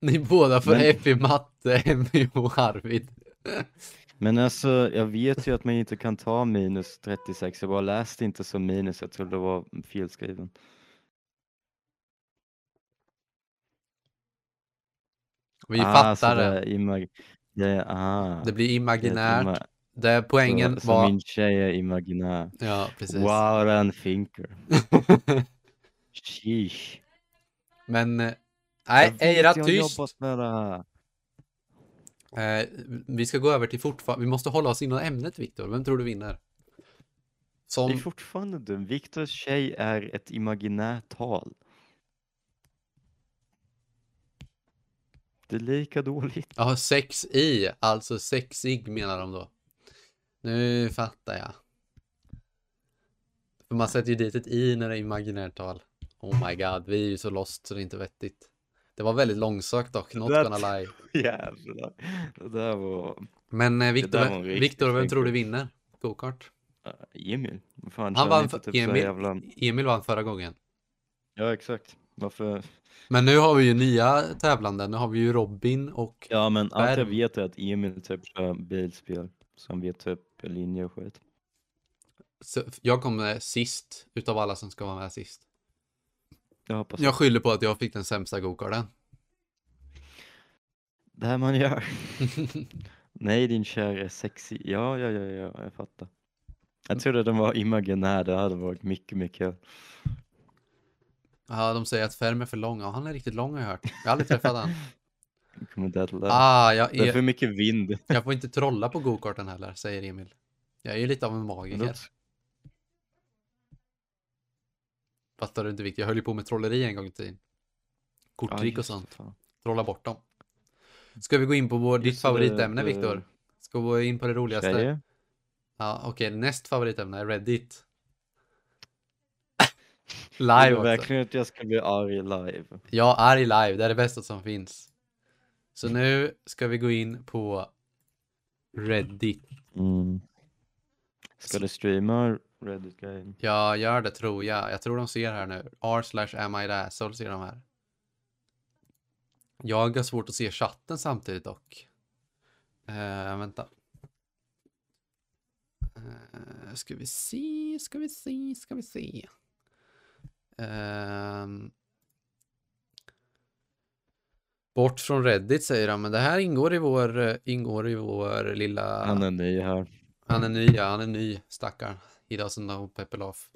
Speaker 3: Ni båda får
Speaker 2: Men-
Speaker 3: F i matte, M i och Arvid.
Speaker 2: Men alltså jag vet ju att man inte kan ta minus 36. Jag bara läste inte som minus. Jag trodde det var felskriven.
Speaker 3: Vi
Speaker 2: Ah, så
Speaker 3: fattar
Speaker 2: det.
Speaker 3: det.
Speaker 2: är imag- det är, ah,
Speaker 3: Det
Speaker 2: det
Speaker 3: blir
Speaker 2: är ett ima-
Speaker 3: imaginärt. Där poängen
Speaker 2: så, så
Speaker 3: var...
Speaker 2: min tjej är imaginär.
Speaker 3: Ja, precis.
Speaker 2: Wow, den thinker. Sheesh.
Speaker 3: Men... eh, Nej,
Speaker 2: Jag vet,
Speaker 3: Eira
Speaker 2: jag har
Speaker 3: tyst!
Speaker 2: jobbat med det här. äh,
Speaker 3: Eh, vi ska gå över till fortfarande... Vi måste hålla oss inom ämnet, Viktor. Vem tror du vinner?
Speaker 2: Det är
Speaker 3: Som...
Speaker 2: fortfarande dum. Viktors tjej är ett imaginärt tal. Det är lika dåligt.
Speaker 3: Ja, sex i, alltså sexig menar de då. Nu fattar jag. För man sätter ju dit ett i när det är imaginärt tal. Oh my god, vi är ju så lost så det är inte vettigt. Det var väldigt långsökt dock, not
Speaker 2: That-
Speaker 3: gonna lie.
Speaker 2: Jävlar. Det där var
Speaker 3: Men eh,
Speaker 2: där
Speaker 3: Viktor,
Speaker 2: var en
Speaker 3: vem-
Speaker 2: riktig
Speaker 3: Viktor, vem tror du
Speaker 2: tänkare.
Speaker 3: vinner? Go-kart?
Speaker 2: eh, Emil. Vad Fan,
Speaker 3: Han
Speaker 2: kör
Speaker 3: vann
Speaker 2: inte typ
Speaker 3: för-
Speaker 2: så här
Speaker 3: Emil.
Speaker 2: Jävla...
Speaker 3: Emil vann förra gången.
Speaker 2: Ja, exakt. Varför?
Speaker 3: Men nu har vi ju nya tävlande, nu har vi ju Robin och...
Speaker 2: Ja, men allt jag
Speaker 3: Värm.
Speaker 2: vet är att Emil typ kör bilspel. Som vet typ linje och skit.
Speaker 3: Så jag kommer sist utav alla som ska vara med sist.
Speaker 2: Jag hoppas
Speaker 3: Jag skyller på att jag fick den sämsta go-karten.
Speaker 2: det här man gör. Nej, din kär är sexy. Ja, ja, ja, ja, jag fattar.
Speaker 3: Mm.
Speaker 2: Jag trodde den var imaginär. Det hade varit mycket, mycket.
Speaker 3: Ja, de säger att Ferm är för lång. Ja, han är riktigt lång har jag hört. Jag har aldrig träffat han.
Speaker 2: Jag kommer inte att lära.
Speaker 3: Ah, jag,
Speaker 2: Det är för
Speaker 3: är,
Speaker 2: mycket vind.
Speaker 3: jag får inte trolla på gokarten heller, säger Emil. Jag är ju lite av en
Speaker 2: Vadå?
Speaker 3: magiker. Fattar du inte Viktor? Jag höll ju på med trolleri en gång i tiden.
Speaker 2: Ja,
Speaker 3: Korttrick och
Speaker 2: just
Speaker 3: sånt.
Speaker 2: fan.
Speaker 3: Trolla bort dem. Ska vi gå in på vår, ditt
Speaker 2: Just det, eh,
Speaker 3: favoritämne
Speaker 2: det-
Speaker 3: Viktor? Ska vi gå in på det roligaste?
Speaker 2: Tjejer?
Speaker 3: Ja, okej. Näst favoritämne är Reddit.
Speaker 2: Vill
Speaker 3: live
Speaker 2: du
Speaker 3: också.
Speaker 2: verkligen att jag ska bli arg live?
Speaker 3: Ja, arg live. Det är det bästa som finns. Så nu ska vi gå in på Reddit.
Speaker 2: Mm. Ska du streama Reddit Game?
Speaker 3: Jag gör det tror jag. Jag tror de ser här nu. R slash am I the asshole ser de här. Jag har svårt att se chatten samtidigt dock. Eh, vänta. Uh, ska vi se, ska vi se, ska vi se. Ehm. bort från Reddit säger han, men det här ingår i vår, eh, ingår i vår lilla...
Speaker 2: Han är ny här.
Speaker 3: Han är ny, ja. Han är ny, stackarn. He doesn't know Peppeloff.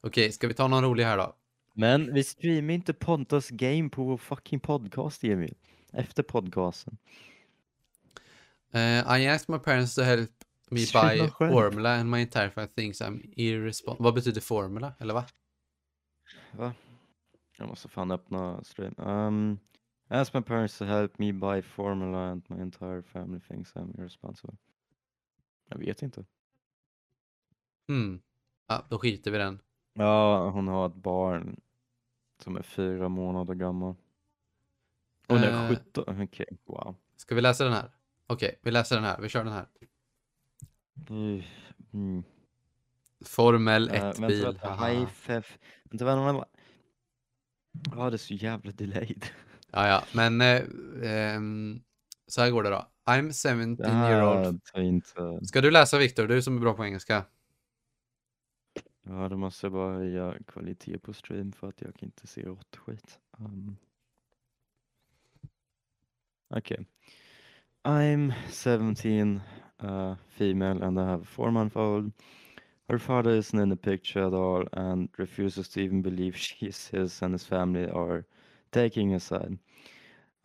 Speaker 3: Okej, ska vi ta någon rolig här då?
Speaker 2: Men vi streamar inte Pontus Game på vår fucking podcast Jimmy. Efter podcasten.
Speaker 3: Eh, I asked my parents to help me
Speaker 2: Shit, vad
Speaker 3: buy
Speaker 2: skönt.
Speaker 3: formula and my entire family thinks I'm irresponsible. Vad betyder formula? Eller va?
Speaker 2: Jag måste fan öppna stream. Um, ask my parents to help me buy formula and my entire family thinks I'm irresponsible. Jag vet inte.
Speaker 3: Hmm. Ja, då skiter vi i den.
Speaker 2: Ja, hon har ett barn som är fyra månader gammal. Hon är
Speaker 3: Eh.
Speaker 2: 17, okej, wow.
Speaker 3: Ska vi läsa den här? Okej, vi läser den här. Vi kör den här.
Speaker 2: Mm. Mm.
Speaker 3: Formel
Speaker 2: Eh,
Speaker 3: 1-bil.
Speaker 2: vänta, vänta, high fef. Vänta, vänta, vänta. Ja, det är så jävla delayed.
Speaker 3: ja, ja, men eh, ehm, så här går det då. I'm 17
Speaker 2: Det
Speaker 3: year
Speaker 2: här
Speaker 3: old.
Speaker 2: tar inte...
Speaker 3: Ska du läsa Viktor? Du som är bra på engelska.
Speaker 2: Ja, då måste jag bara höja kvalitet på stream för att jag kan inte se rått skit. Um. Okej. I'm 17, uh, female and I have a four month old. Her father isn't in the picture at all and refuses to even believe she is his and his family are taking his side.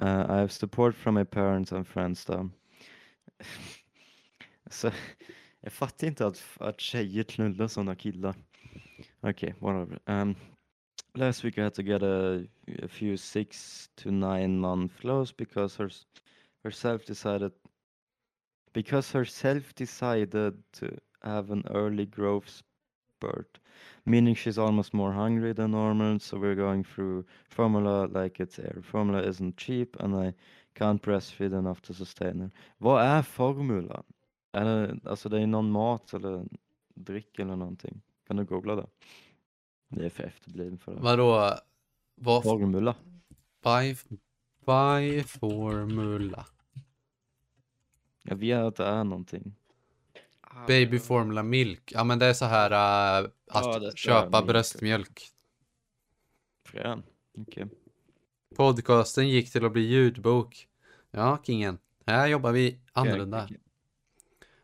Speaker 2: Uh, I have support from my parents and friends though. Så jag fattar inte att, att tjejer knullar sådana killar. Okej, whatever. Um, last week I had to get a, a few six to nine month flows because her, s- herself decided because herself decided to have an early growth spurt, meaning she's almost more hungry than normal. So we're going through formula like it's air. Formula isn't cheap, and I can't breastfeed enough to sustain her. Vad är formula? Är det, alltså det är någon mat eller dryck eller någonting. Kan du googla det? Det är för efterbliven för det.
Speaker 3: Vadå? Vad
Speaker 2: Formula.
Speaker 3: By, by formula.
Speaker 2: Jag vet att det är någonting.
Speaker 3: Baby formula milk. Ja men det är så här äh, att
Speaker 2: Ja, det ska
Speaker 3: köpa
Speaker 2: jag minska.
Speaker 3: bröstmjölk.
Speaker 2: Frön. Okej.
Speaker 3: Podcasten gick till att bli ljudbok. Ja, kingen. Här jobbar vi annorlunda.
Speaker 2: okej.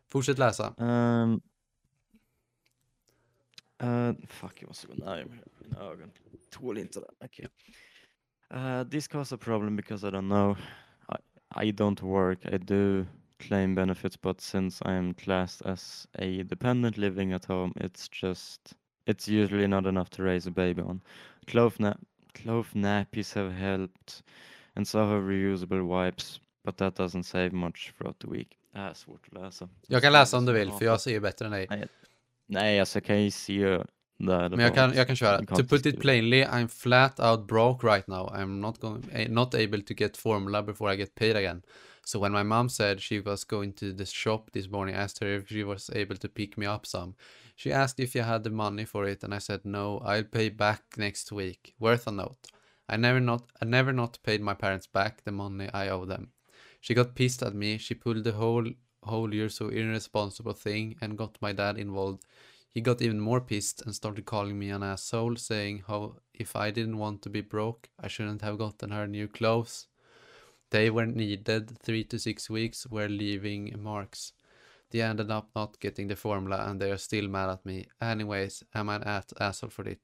Speaker 3: Fortsätt läsa.
Speaker 2: Ehm. Eh, fuck, jag måste gå närmare mina ögon. Tål inte det. Okej. Eh, this causes a problem because I don't know. I, I don't work. I do claim benefits, but since I am classed as a dependent living at home, it's just it's usually not enough to raise a baby on. Cloth, na- cloth nappies have helped, and so have reusable wipes, but that doesn't save much throughout the week. Det här är svårt att läsa.
Speaker 3: Jag kan
Speaker 2: Det är
Speaker 3: läsa om du
Speaker 2: som
Speaker 3: vill
Speaker 2: vanligt.
Speaker 3: för jag ser ju bättre än dig.
Speaker 2: Nej, alltså jag kan ju se där.
Speaker 3: Men jag kan, jag kan köra.
Speaker 2: Du kan
Speaker 3: To
Speaker 2: inte
Speaker 3: put it
Speaker 2: skriva.
Speaker 3: plainly, I'm flat out broke right now. I'm not, going, eh, not able to get formula before I get paid again. So when my mom said she was going to the shop this morning, I asked her if she was able to pick me up some. She asked if I had the money for it, and I said no. I'll pay back next week. Worth a note. I never not I never not paid my parents back the money I owe them. She got pissed at me. She pulled the whole whole year so irresponsible thing and got my dad involved. He got even more pissed and started calling me an asshole, saying how if I didn't want to be broke, I shouldn't have gotten her new clothes. They were needed three to six weeks, were leaving marks. They ended up not getting the formula and they are still mad at me. Anyways, am an at asshole for it.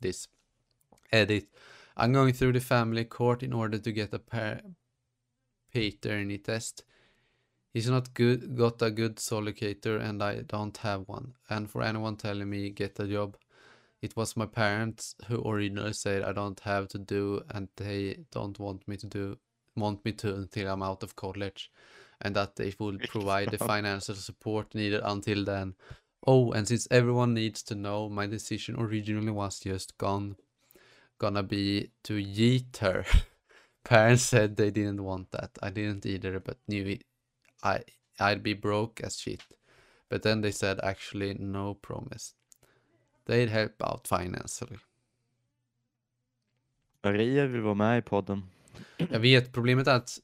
Speaker 3: This. Edit. I'm going through the family court in order to get a par- paternity test. He's not good, got a good solicitor and I don't have one. And for anyone telling me get a job, it was my parents who originally said I don't have to do and they don't want me to do want me to until I'm out of college and that they will provide the financial support needed until then. Oh, and since everyone needs to know, my decision originally was just gone gonna be to yeet her. Parents said they didn't want that. I didn't either, but knew it I I'd be broke as shit. But then they said actually no promise. They'd help out financially.
Speaker 2: Maria vill vara med i podden.
Speaker 3: Jag vet, problemet är att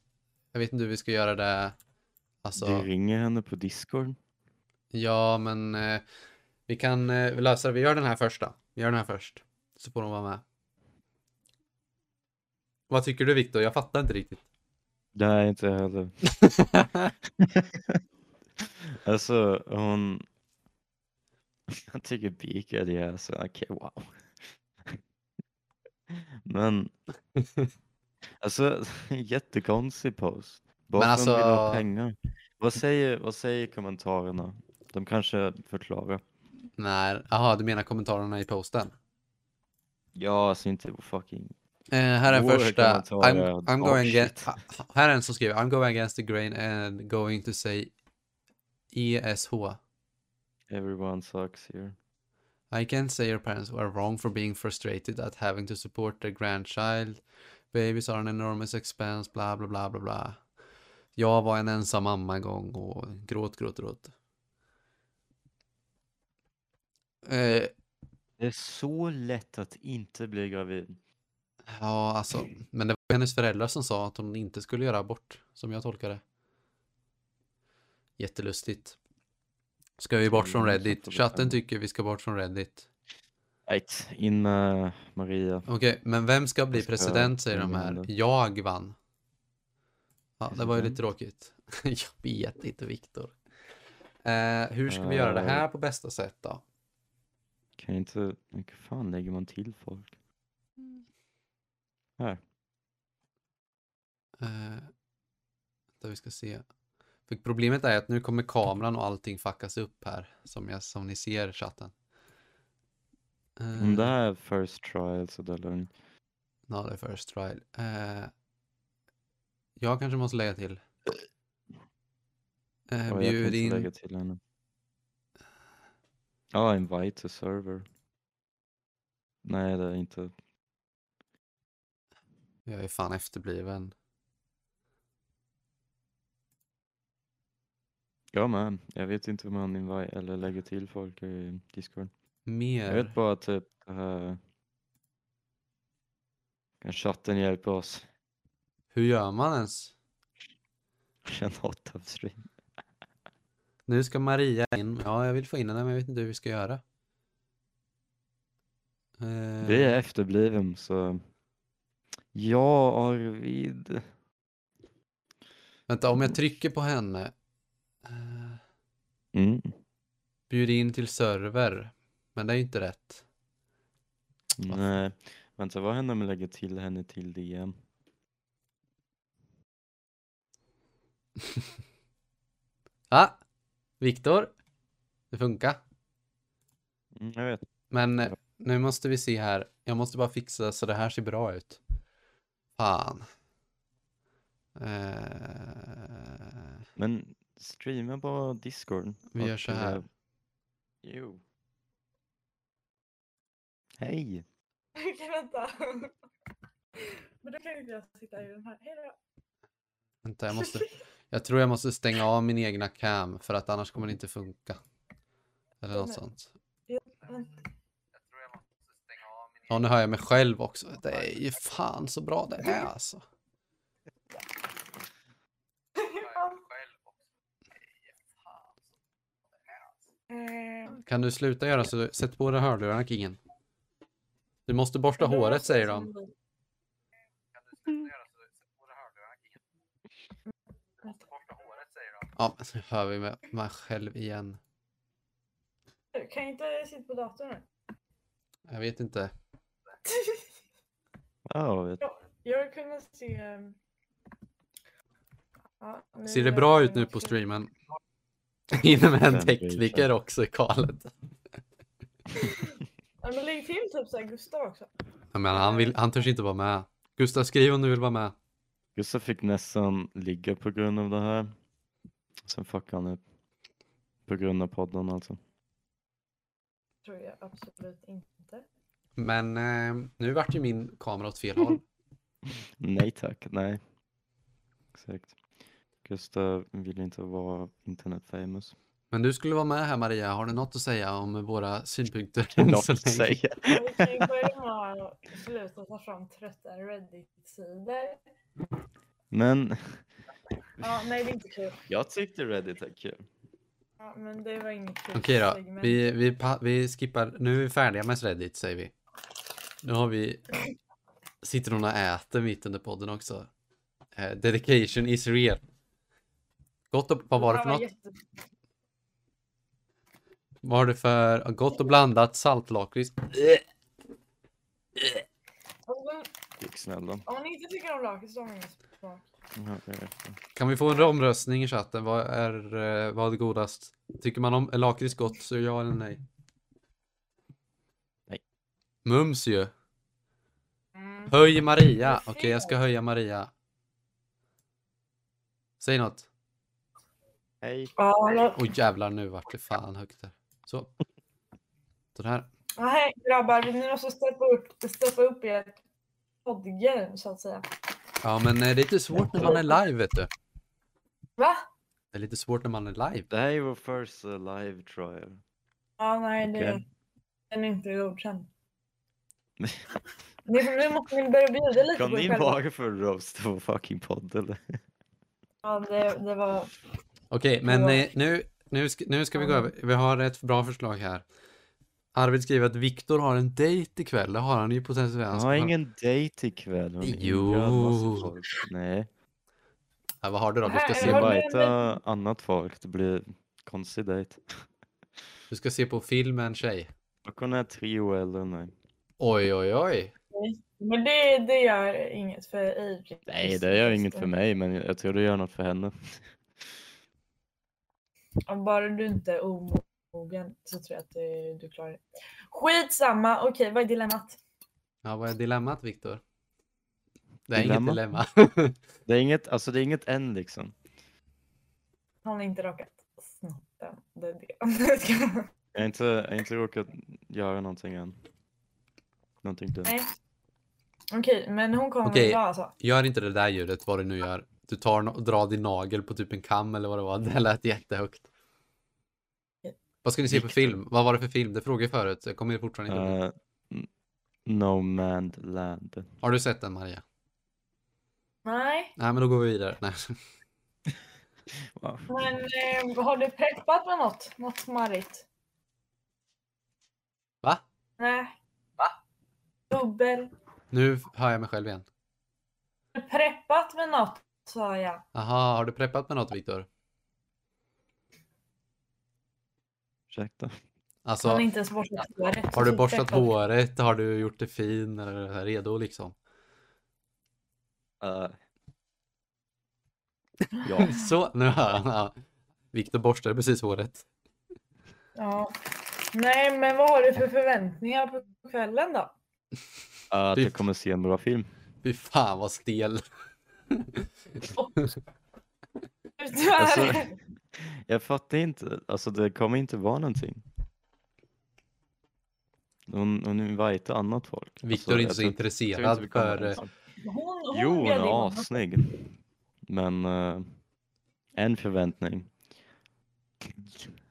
Speaker 3: jag vet inte hur vi ska göra det Alltså,
Speaker 2: Du ringer henne på Discord.
Speaker 3: ja men eh, vi kan eh, vi löser det. Vi gör den här första. Vi gör den här först. Så får hon vara med. Vad tycker du Viktor? Jag fattar inte riktigt.
Speaker 2: Nej, inte jag heller. Alltså hon... Jag tycker Beak är det, alltså okej wow. Men... Alltså jättekonstig post. Bara
Speaker 3: Men
Speaker 2: för att de vill ha
Speaker 3: alltså-
Speaker 2: pengar. Vad säger, vad säger kommentarerna? De kanske förklarar.
Speaker 3: Nej, jaha du menar kommentarerna i posten?
Speaker 2: Ja, alltså inte fucking...
Speaker 3: Eh, här är
Speaker 2: Våra
Speaker 3: första.
Speaker 2: kommentarer är
Speaker 3: I'm, I'm
Speaker 2: dog
Speaker 3: going
Speaker 2: shit.
Speaker 3: against, här är en som skriver I'm going against the grain and going to say E ESH.
Speaker 2: Everyone sucks here.
Speaker 3: I can say your parents were wrong for being frustrated at having to support their grandchild. Babies are an enormous expense, bla bla bla bla bla. Jag var en ensam mamma en gång och gråt, gråt, gråt. Eh,
Speaker 2: Det är så lätt att inte bli gravid.
Speaker 3: ja, alltså, men det var hennes föräldrar som sa att hon inte skulle göra abort, som jag tolkar det. Jättelustigt. Ska vi bort från
Speaker 2: Troligen så
Speaker 3: Reddit?
Speaker 2: får vi
Speaker 3: Chatten
Speaker 2: ta-
Speaker 3: tycker vi ska bort från Reddit.
Speaker 2: Nej, in med Maria.
Speaker 3: Okej, men vem ska bli
Speaker 2: Jag ska
Speaker 3: president säger de
Speaker 2: ringa
Speaker 3: här.
Speaker 2: henne.
Speaker 3: Jag vann. Ja, det var ju lite
Speaker 2: President.
Speaker 3: tråkigt. Jag vet inte, Viktor. Eh, hur ska vi göra det
Speaker 2: Eh.
Speaker 3: här på bästa sätt då?
Speaker 2: Kan inte... Hur fan lägger man till folk? Här.
Speaker 3: Eh, där vi ska se. För problemet är att nu kommer kameran och allting fuckas upp här, som, jag, som ni ser i chatten.
Speaker 2: Om det
Speaker 3: Eh,
Speaker 2: här är first trial så det är lugnt.
Speaker 3: Not a first trial. Eh, jag kanske måste lägga till. Eh,
Speaker 2: Och jag
Speaker 3: bjud
Speaker 2: tänkte
Speaker 3: in
Speaker 2: lägga till henne. Ja, ah, invite to server. Nej, det är inte.
Speaker 3: Jag är fan efterbliven.
Speaker 2: Jag med. Jag vet inte hur man invite eller lägger till folk i Discord. Jag
Speaker 3: Mer.
Speaker 2: vet bara typ det här. Kan chatten hjälpa oss?
Speaker 3: Hur gör man ens?
Speaker 2: Känn hot of stream.
Speaker 3: Nu ska Maria in. Ja, jag vill få in henne, men jag vet inte hur vi ska göra. Eh,
Speaker 2: Vi är efterbliven så. Ja, Arvid.
Speaker 3: Vänta, om jag trycker på henne. Eh,
Speaker 2: Mm.
Speaker 3: bjud in till server. Men det är ju inte rätt. Vad fan.
Speaker 2: Nej, vänta vad händer om jag lägger till henne till DM?
Speaker 3: Ah, Viktor. Det funkar.
Speaker 2: Mm, jag vet.
Speaker 3: Men eh, nu måste vi se här. Jag måste bara fixa så det här ser bra ut. Fan. Eh,
Speaker 2: Men streama bara Discord.
Speaker 3: Vi gör
Speaker 2: och,
Speaker 3: så här.
Speaker 2: eh, Jo. Hej!
Speaker 4: Okej, vänta. Men då kan ju inte jag sitta i den här. Hej då.
Speaker 3: Vänta, jag, måste, jag tror jag måste stänga av min egna cam för att annars kommer det inte funka. Eller något
Speaker 4: Nej.
Speaker 3: sånt.
Speaker 4: Vänta.
Speaker 3: Ja, nu hör jag mig själv också. Det är ju fan så bra det är alltså.
Speaker 4: Eh,
Speaker 3: Kan du sluta göra så? Sätt på dig hörlurarna Kingen. Du måste borsta
Speaker 4: alltså, men då
Speaker 3: håret
Speaker 4: måste jag
Speaker 3: säger
Speaker 4: ta
Speaker 3: de.
Speaker 4: en bild.
Speaker 3: Ja, nu hör vi mig- mig själv igen.
Speaker 4: Du Kan jag inte sitta på datorn nu?
Speaker 3: Jag vet inte.
Speaker 2: Ja, vet.
Speaker 4: Jag kunde se... ehm, ja, nu
Speaker 3: Ser det
Speaker 4: vill jag
Speaker 3: bra
Speaker 4: se
Speaker 3: ut nu
Speaker 4: något
Speaker 3: på
Speaker 4: kul.
Speaker 3: streamen? Hinner med en
Speaker 2: Den bryr sig.
Speaker 3: tekniker också i kallet.
Speaker 4: Ja, men lägg till typ såhär Gustav också.
Speaker 3: Ja, men han, vill, han törs inte vara med. Gustav, skriv om du vill vara med.
Speaker 2: Gustav fick nästan ligga på grund av det här. Sen fuckade han upp. På grund av podden alltså.
Speaker 4: Tror jag absolut inte.
Speaker 3: Men eh, nu vart ju min kamera åt fel håll.
Speaker 2: Nej tack, nej. Exakt. Gustav vill inte vara internet famous.
Speaker 3: Men du skulle vara med här Maria. Har du något att säga om våra synpunkter? än
Speaker 2: Klart
Speaker 3: så
Speaker 2: att
Speaker 3: länge?
Speaker 2: säga.
Speaker 4: Men Vi kan ju börja med att sluta ta fram trötta Reddit-sidor.
Speaker 2: Men
Speaker 4: Ja, nej det är inte kul.
Speaker 2: Jag tyckte Reddit är kul.
Speaker 4: Ja, men det var inget kul
Speaker 3: Okej då,
Speaker 4: segment.
Speaker 3: vi, vi, pa- vi skippar, nu är vi färdiga med Reddit säger vi. Nu har vi, sitter hon och äter mitt under podden också. Eh, dedication is real. Gott och, vad var det
Speaker 4: här
Speaker 3: för något?
Speaker 4: jätte-
Speaker 3: Vad har du för gott och blandat saltlakrits?
Speaker 4: Om-
Speaker 2: Gick snälla.
Speaker 4: Om ni inte tycker om lakrits, då har ni ingen smak.
Speaker 2: Ja, jag vet inte.
Speaker 3: Kan vi få en omröstning i chatten? Vad är, eh, vad är godast? Tycker man om är lakrits gott så ja eller nej?
Speaker 2: Nej.
Speaker 3: Mums ju.
Speaker 4: Mm.
Speaker 3: Höj Maria.
Speaker 4: Vad
Speaker 3: Okej, jag ska höja Maria. Säg något.
Speaker 2: Hej.
Speaker 4: Ja, hallå.
Speaker 3: Oj jävlar, nu vart det fan högt där. Så. Så här.
Speaker 4: Nej, grabbar, ni måste steppa upp, steppa upp er poddgame så att säga.
Speaker 3: Ja, men eh, det är lite svårt när man är live, vet du.
Speaker 4: Va?
Speaker 3: Det är lite svårt när man är live.
Speaker 2: Det här är vår första live trial.
Speaker 4: Ja, nej, det,
Speaker 2: Okej.
Speaker 4: den är inte godkänd. ni, nu måste ni börja bjuda lite
Speaker 2: Kan
Speaker 4: på
Speaker 2: ni
Speaker 4: er själva.
Speaker 2: bara för roast vår fucking podd eller?
Speaker 4: Ja, det, det var...
Speaker 3: Okej, men
Speaker 4: Ja.
Speaker 3: eh, nu, nu, ska, nu ska vi gå
Speaker 4: Ja.
Speaker 3: över. Vi har ett bra förslag här. Arvid skriver att Viktor har en dejt ikväll. Det har han ju potentiellt.
Speaker 2: Jag
Speaker 3: Han
Speaker 2: har
Speaker 3: ska-
Speaker 2: ingen dejt ikväll. hon inbjöd
Speaker 3: Jo.
Speaker 2: massa folk. Nej.
Speaker 3: Ja, vad har du då? Du ska,
Speaker 4: Nej,
Speaker 2: Jag
Speaker 4: Jag
Speaker 2: ska
Speaker 3: se,
Speaker 4: håller med
Speaker 2: invita annat folk. Det blir konstig dejt.
Speaker 3: du ska se på film med en tjej.
Speaker 2: Och hon är trio eller nej.
Speaker 3: Oj, oj, oj.
Speaker 4: Men det, det gör inget för Adrian.
Speaker 2: Nej, det gör inget för mig, men jag tror det gör något för henne.
Speaker 4: Ja, Bara du inte är omogen så tror jag att det, du klarar det. Skitsamma, okej vad är dilemmat?
Speaker 3: Ja, vad är dilemmat, Viktor? Det är
Speaker 2: Dilemma?
Speaker 3: inget dilemma.
Speaker 2: Det är inget, alltså det är inget än liksom.
Speaker 4: Han har inte rakat snoppen. Det är det.
Speaker 2: Jag har inte, jag har inte råkat göra någonting än. Någonting dumt.
Speaker 4: Nej. Okej, men hon kommer
Speaker 3: Okej.
Speaker 4: idag alltså.
Speaker 3: Gör inte det där ljudet, vad du nu gör. Du tar no- och drar din nagel på typ en kam eller vad det var. Det lät jättehögt. Vad ska ni se på film? Vad var det för film? Det frågade jag förut. Jag kommer fortfarande inte ihåg.
Speaker 2: Eh, n- no Man's Land.
Speaker 3: Har du sett den, Maria?
Speaker 4: Nej,
Speaker 3: Nej, men då går vi vidare. Nej.
Speaker 2: Wow.
Speaker 4: men eh, har du preppat med något? Något smarrigt?
Speaker 3: Va?
Speaker 4: Nej. Va? Dubbel.
Speaker 3: Nu hör jag mig själv igen.
Speaker 4: Har du preppat med något? Sa jag.
Speaker 3: Aha, har du preppat med något, Viktor?
Speaker 2: Ursäkta.
Speaker 3: Alltså,
Speaker 4: Han har inte ens borstat håret.
Speaker 3: har
Speaker 4: Så
Speaker 3: du borstat
Speaker 4: preppat.
Speaker 3: håret? Har du gjort det fin? Eller är det redo liksom?
Speaker 2: Eh, ja. eh,
Speaker 3: Så, nu hör han. Ja. Viktor borstade precis håret.
Speaker 4: Ja. Nej, men vad har du för förväntningar på kvällen då?
Speaker 2: Att
Speaker 3: Fy-
Speaker 2: jag kommer se en bra film.
Speaker 3: Fy fan vad stel.
Speaker 2: Alltså,
Speaker 4: Tyvärr.
Speaker 2: Alltså, jag fattar inte. Alltså det kommer inte vara någonting. Hon, hon invitar annat folk. Alltså,
Speaker 3: Viktor är inte så
Speaker 2: jag tror- jag tror
Speaker 3: intresserad
Speaker 2: inte vi kommer
Speaker 3: för... eh,
Speaker 2: någonstans.
Speaker 4: hon, hon
Speaker 2: Jo, hon
Speaker 4: bjöd in
Speaker 2: är
Speaker 4: honom.
Speaker 2: assnygg. Men eh, en förväntning.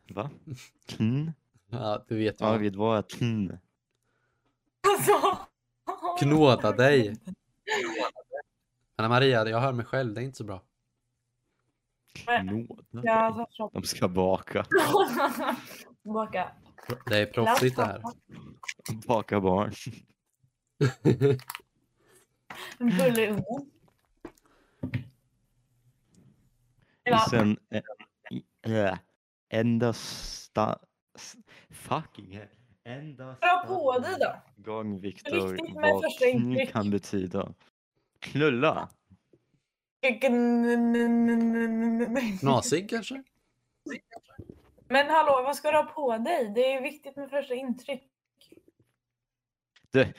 Speaker 2: Va? Kn?
Speaker 3: Ja, du vet vad.
Speaker 2: Arvid, vad är kn?
Speaker 4: Alltså.
Speaker 3: Knåda dig. Anna Maria, jag hör mig själv. Det är inte så bra.
Speaker 4: Äh. Ja,
Speaker 2: Knåda?
Speaker 4: alltså, så-
Speaker 2: De ska baka.
Speaker 4: Tillbaka.
Speaker 3: Det är proffsigt det här.
Speaker 2: Baka barn.
Speaker 4: En bulle i ugnen.
Speaker 2: Och sen eh, i- eh, enda sta... s- Fucking hell. Enda
Speaker 4: Dra på dig
Speaker 2: sta-
Speaker 4: då.
Speaker 2: gång Viktor
Speaker 4: Riktigt med
Speaker 2: vad
Speaker 4: första
Speaker 2: kn
Speaker 4: intryck.
Speaker 2: kan betyda. Knulla.
Speaker 3: Knasig kanske?
Speaker 4: Men hallå, vad ska du ha på dig? Det är viktigt med första intryck.
Speaker 2: Det,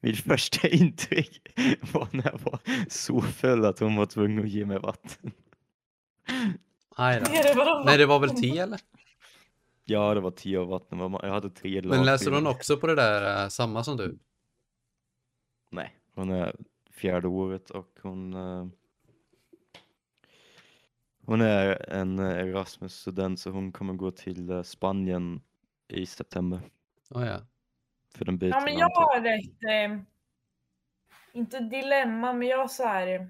Speaker 2: mitt första intryck var när jag var så full att hon var tvungen att ge mig vatten.
Speaker 3: Aj
Speaker 4: Det
Speaker 3: då.
Speaker 4: är det vadå?
Speaker 3: Nej, det var väl te eller?
Speaker 2: Ja, det var tio av vatten. vad man- Jag hade tre glas.
Speaker 3: Men läser
Speaker 2: vin.
Speaker 3: hon också på det där eh, samma som du?
Speaker 2: Nej, hon är fjärde året och hon... eh, Hon är en eh, Erasmus-student så hon kommer gå till eh, Spanien i september.
Speaker 3: Oh, ja.
Speaker 2: För den byter
Speaker 4: Ja, men
Speaker 2: namn
Speaker 4: jag
Speaker 2: till-
Speaker 4: har ett, eh, inte dilemma, men jag har så här,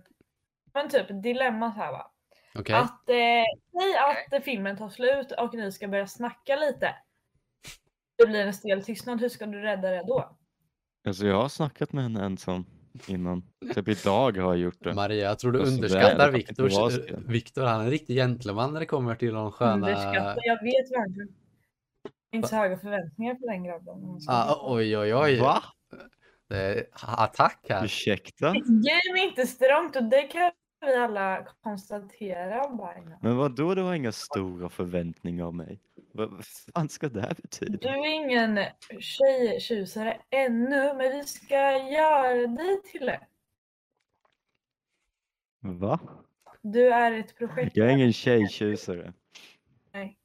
Speaker 4: men typ dilemma så här va.
Speaker 3: Okej,
Speaker 4: Att, eh, säg att eh, filmen tar slut och ni ska börja snacka lite. Det blir en stel tystnad, hur ska du rädda det då?
Speaker 2: Alltså jag har snackat med henne ensam innan. Typ idag har jag gjort det.
Speaker 3: Maria, jag tror du
Speaker 2: Alltså, det
Speaker 3: underskattar
Speaker 2: är- det var
Speaker 3: Viktors...
Speaker 2: så.
Speaker 3: Viktor, han är en riktig gentleman när det kommer till de sköna...
Speaker 4: Underskatta, jag vet verkligen. Jag har Inte så höga förväntningar på den grabben. om jag ska vara
Speaker 3: Ah,
Speaker 4: ärlig.
Speaker 3: oj, oj, oj.
Speaker 2: Va?
Speaker 3: Det är attack här.
Speaker 2: Ursäkta?
Speaker 4: Game är inte stramt och det kan vi alla konstatera. Bergman.
Speaker 2: Men vadå, du har inga stora förväntningar av mig? Vad vad fan ska det här
Speaker 4: Du
Speaker 2: betyda?
Speaker 4: är ingen tjejtjusare ännu, men vi ska göra dig till det.
Speaker 2: Va?
Speaker 4: Du är ett projekt.
Speaker 2: Jag är ingen tjejtjusare.
Speaker 4: Nej.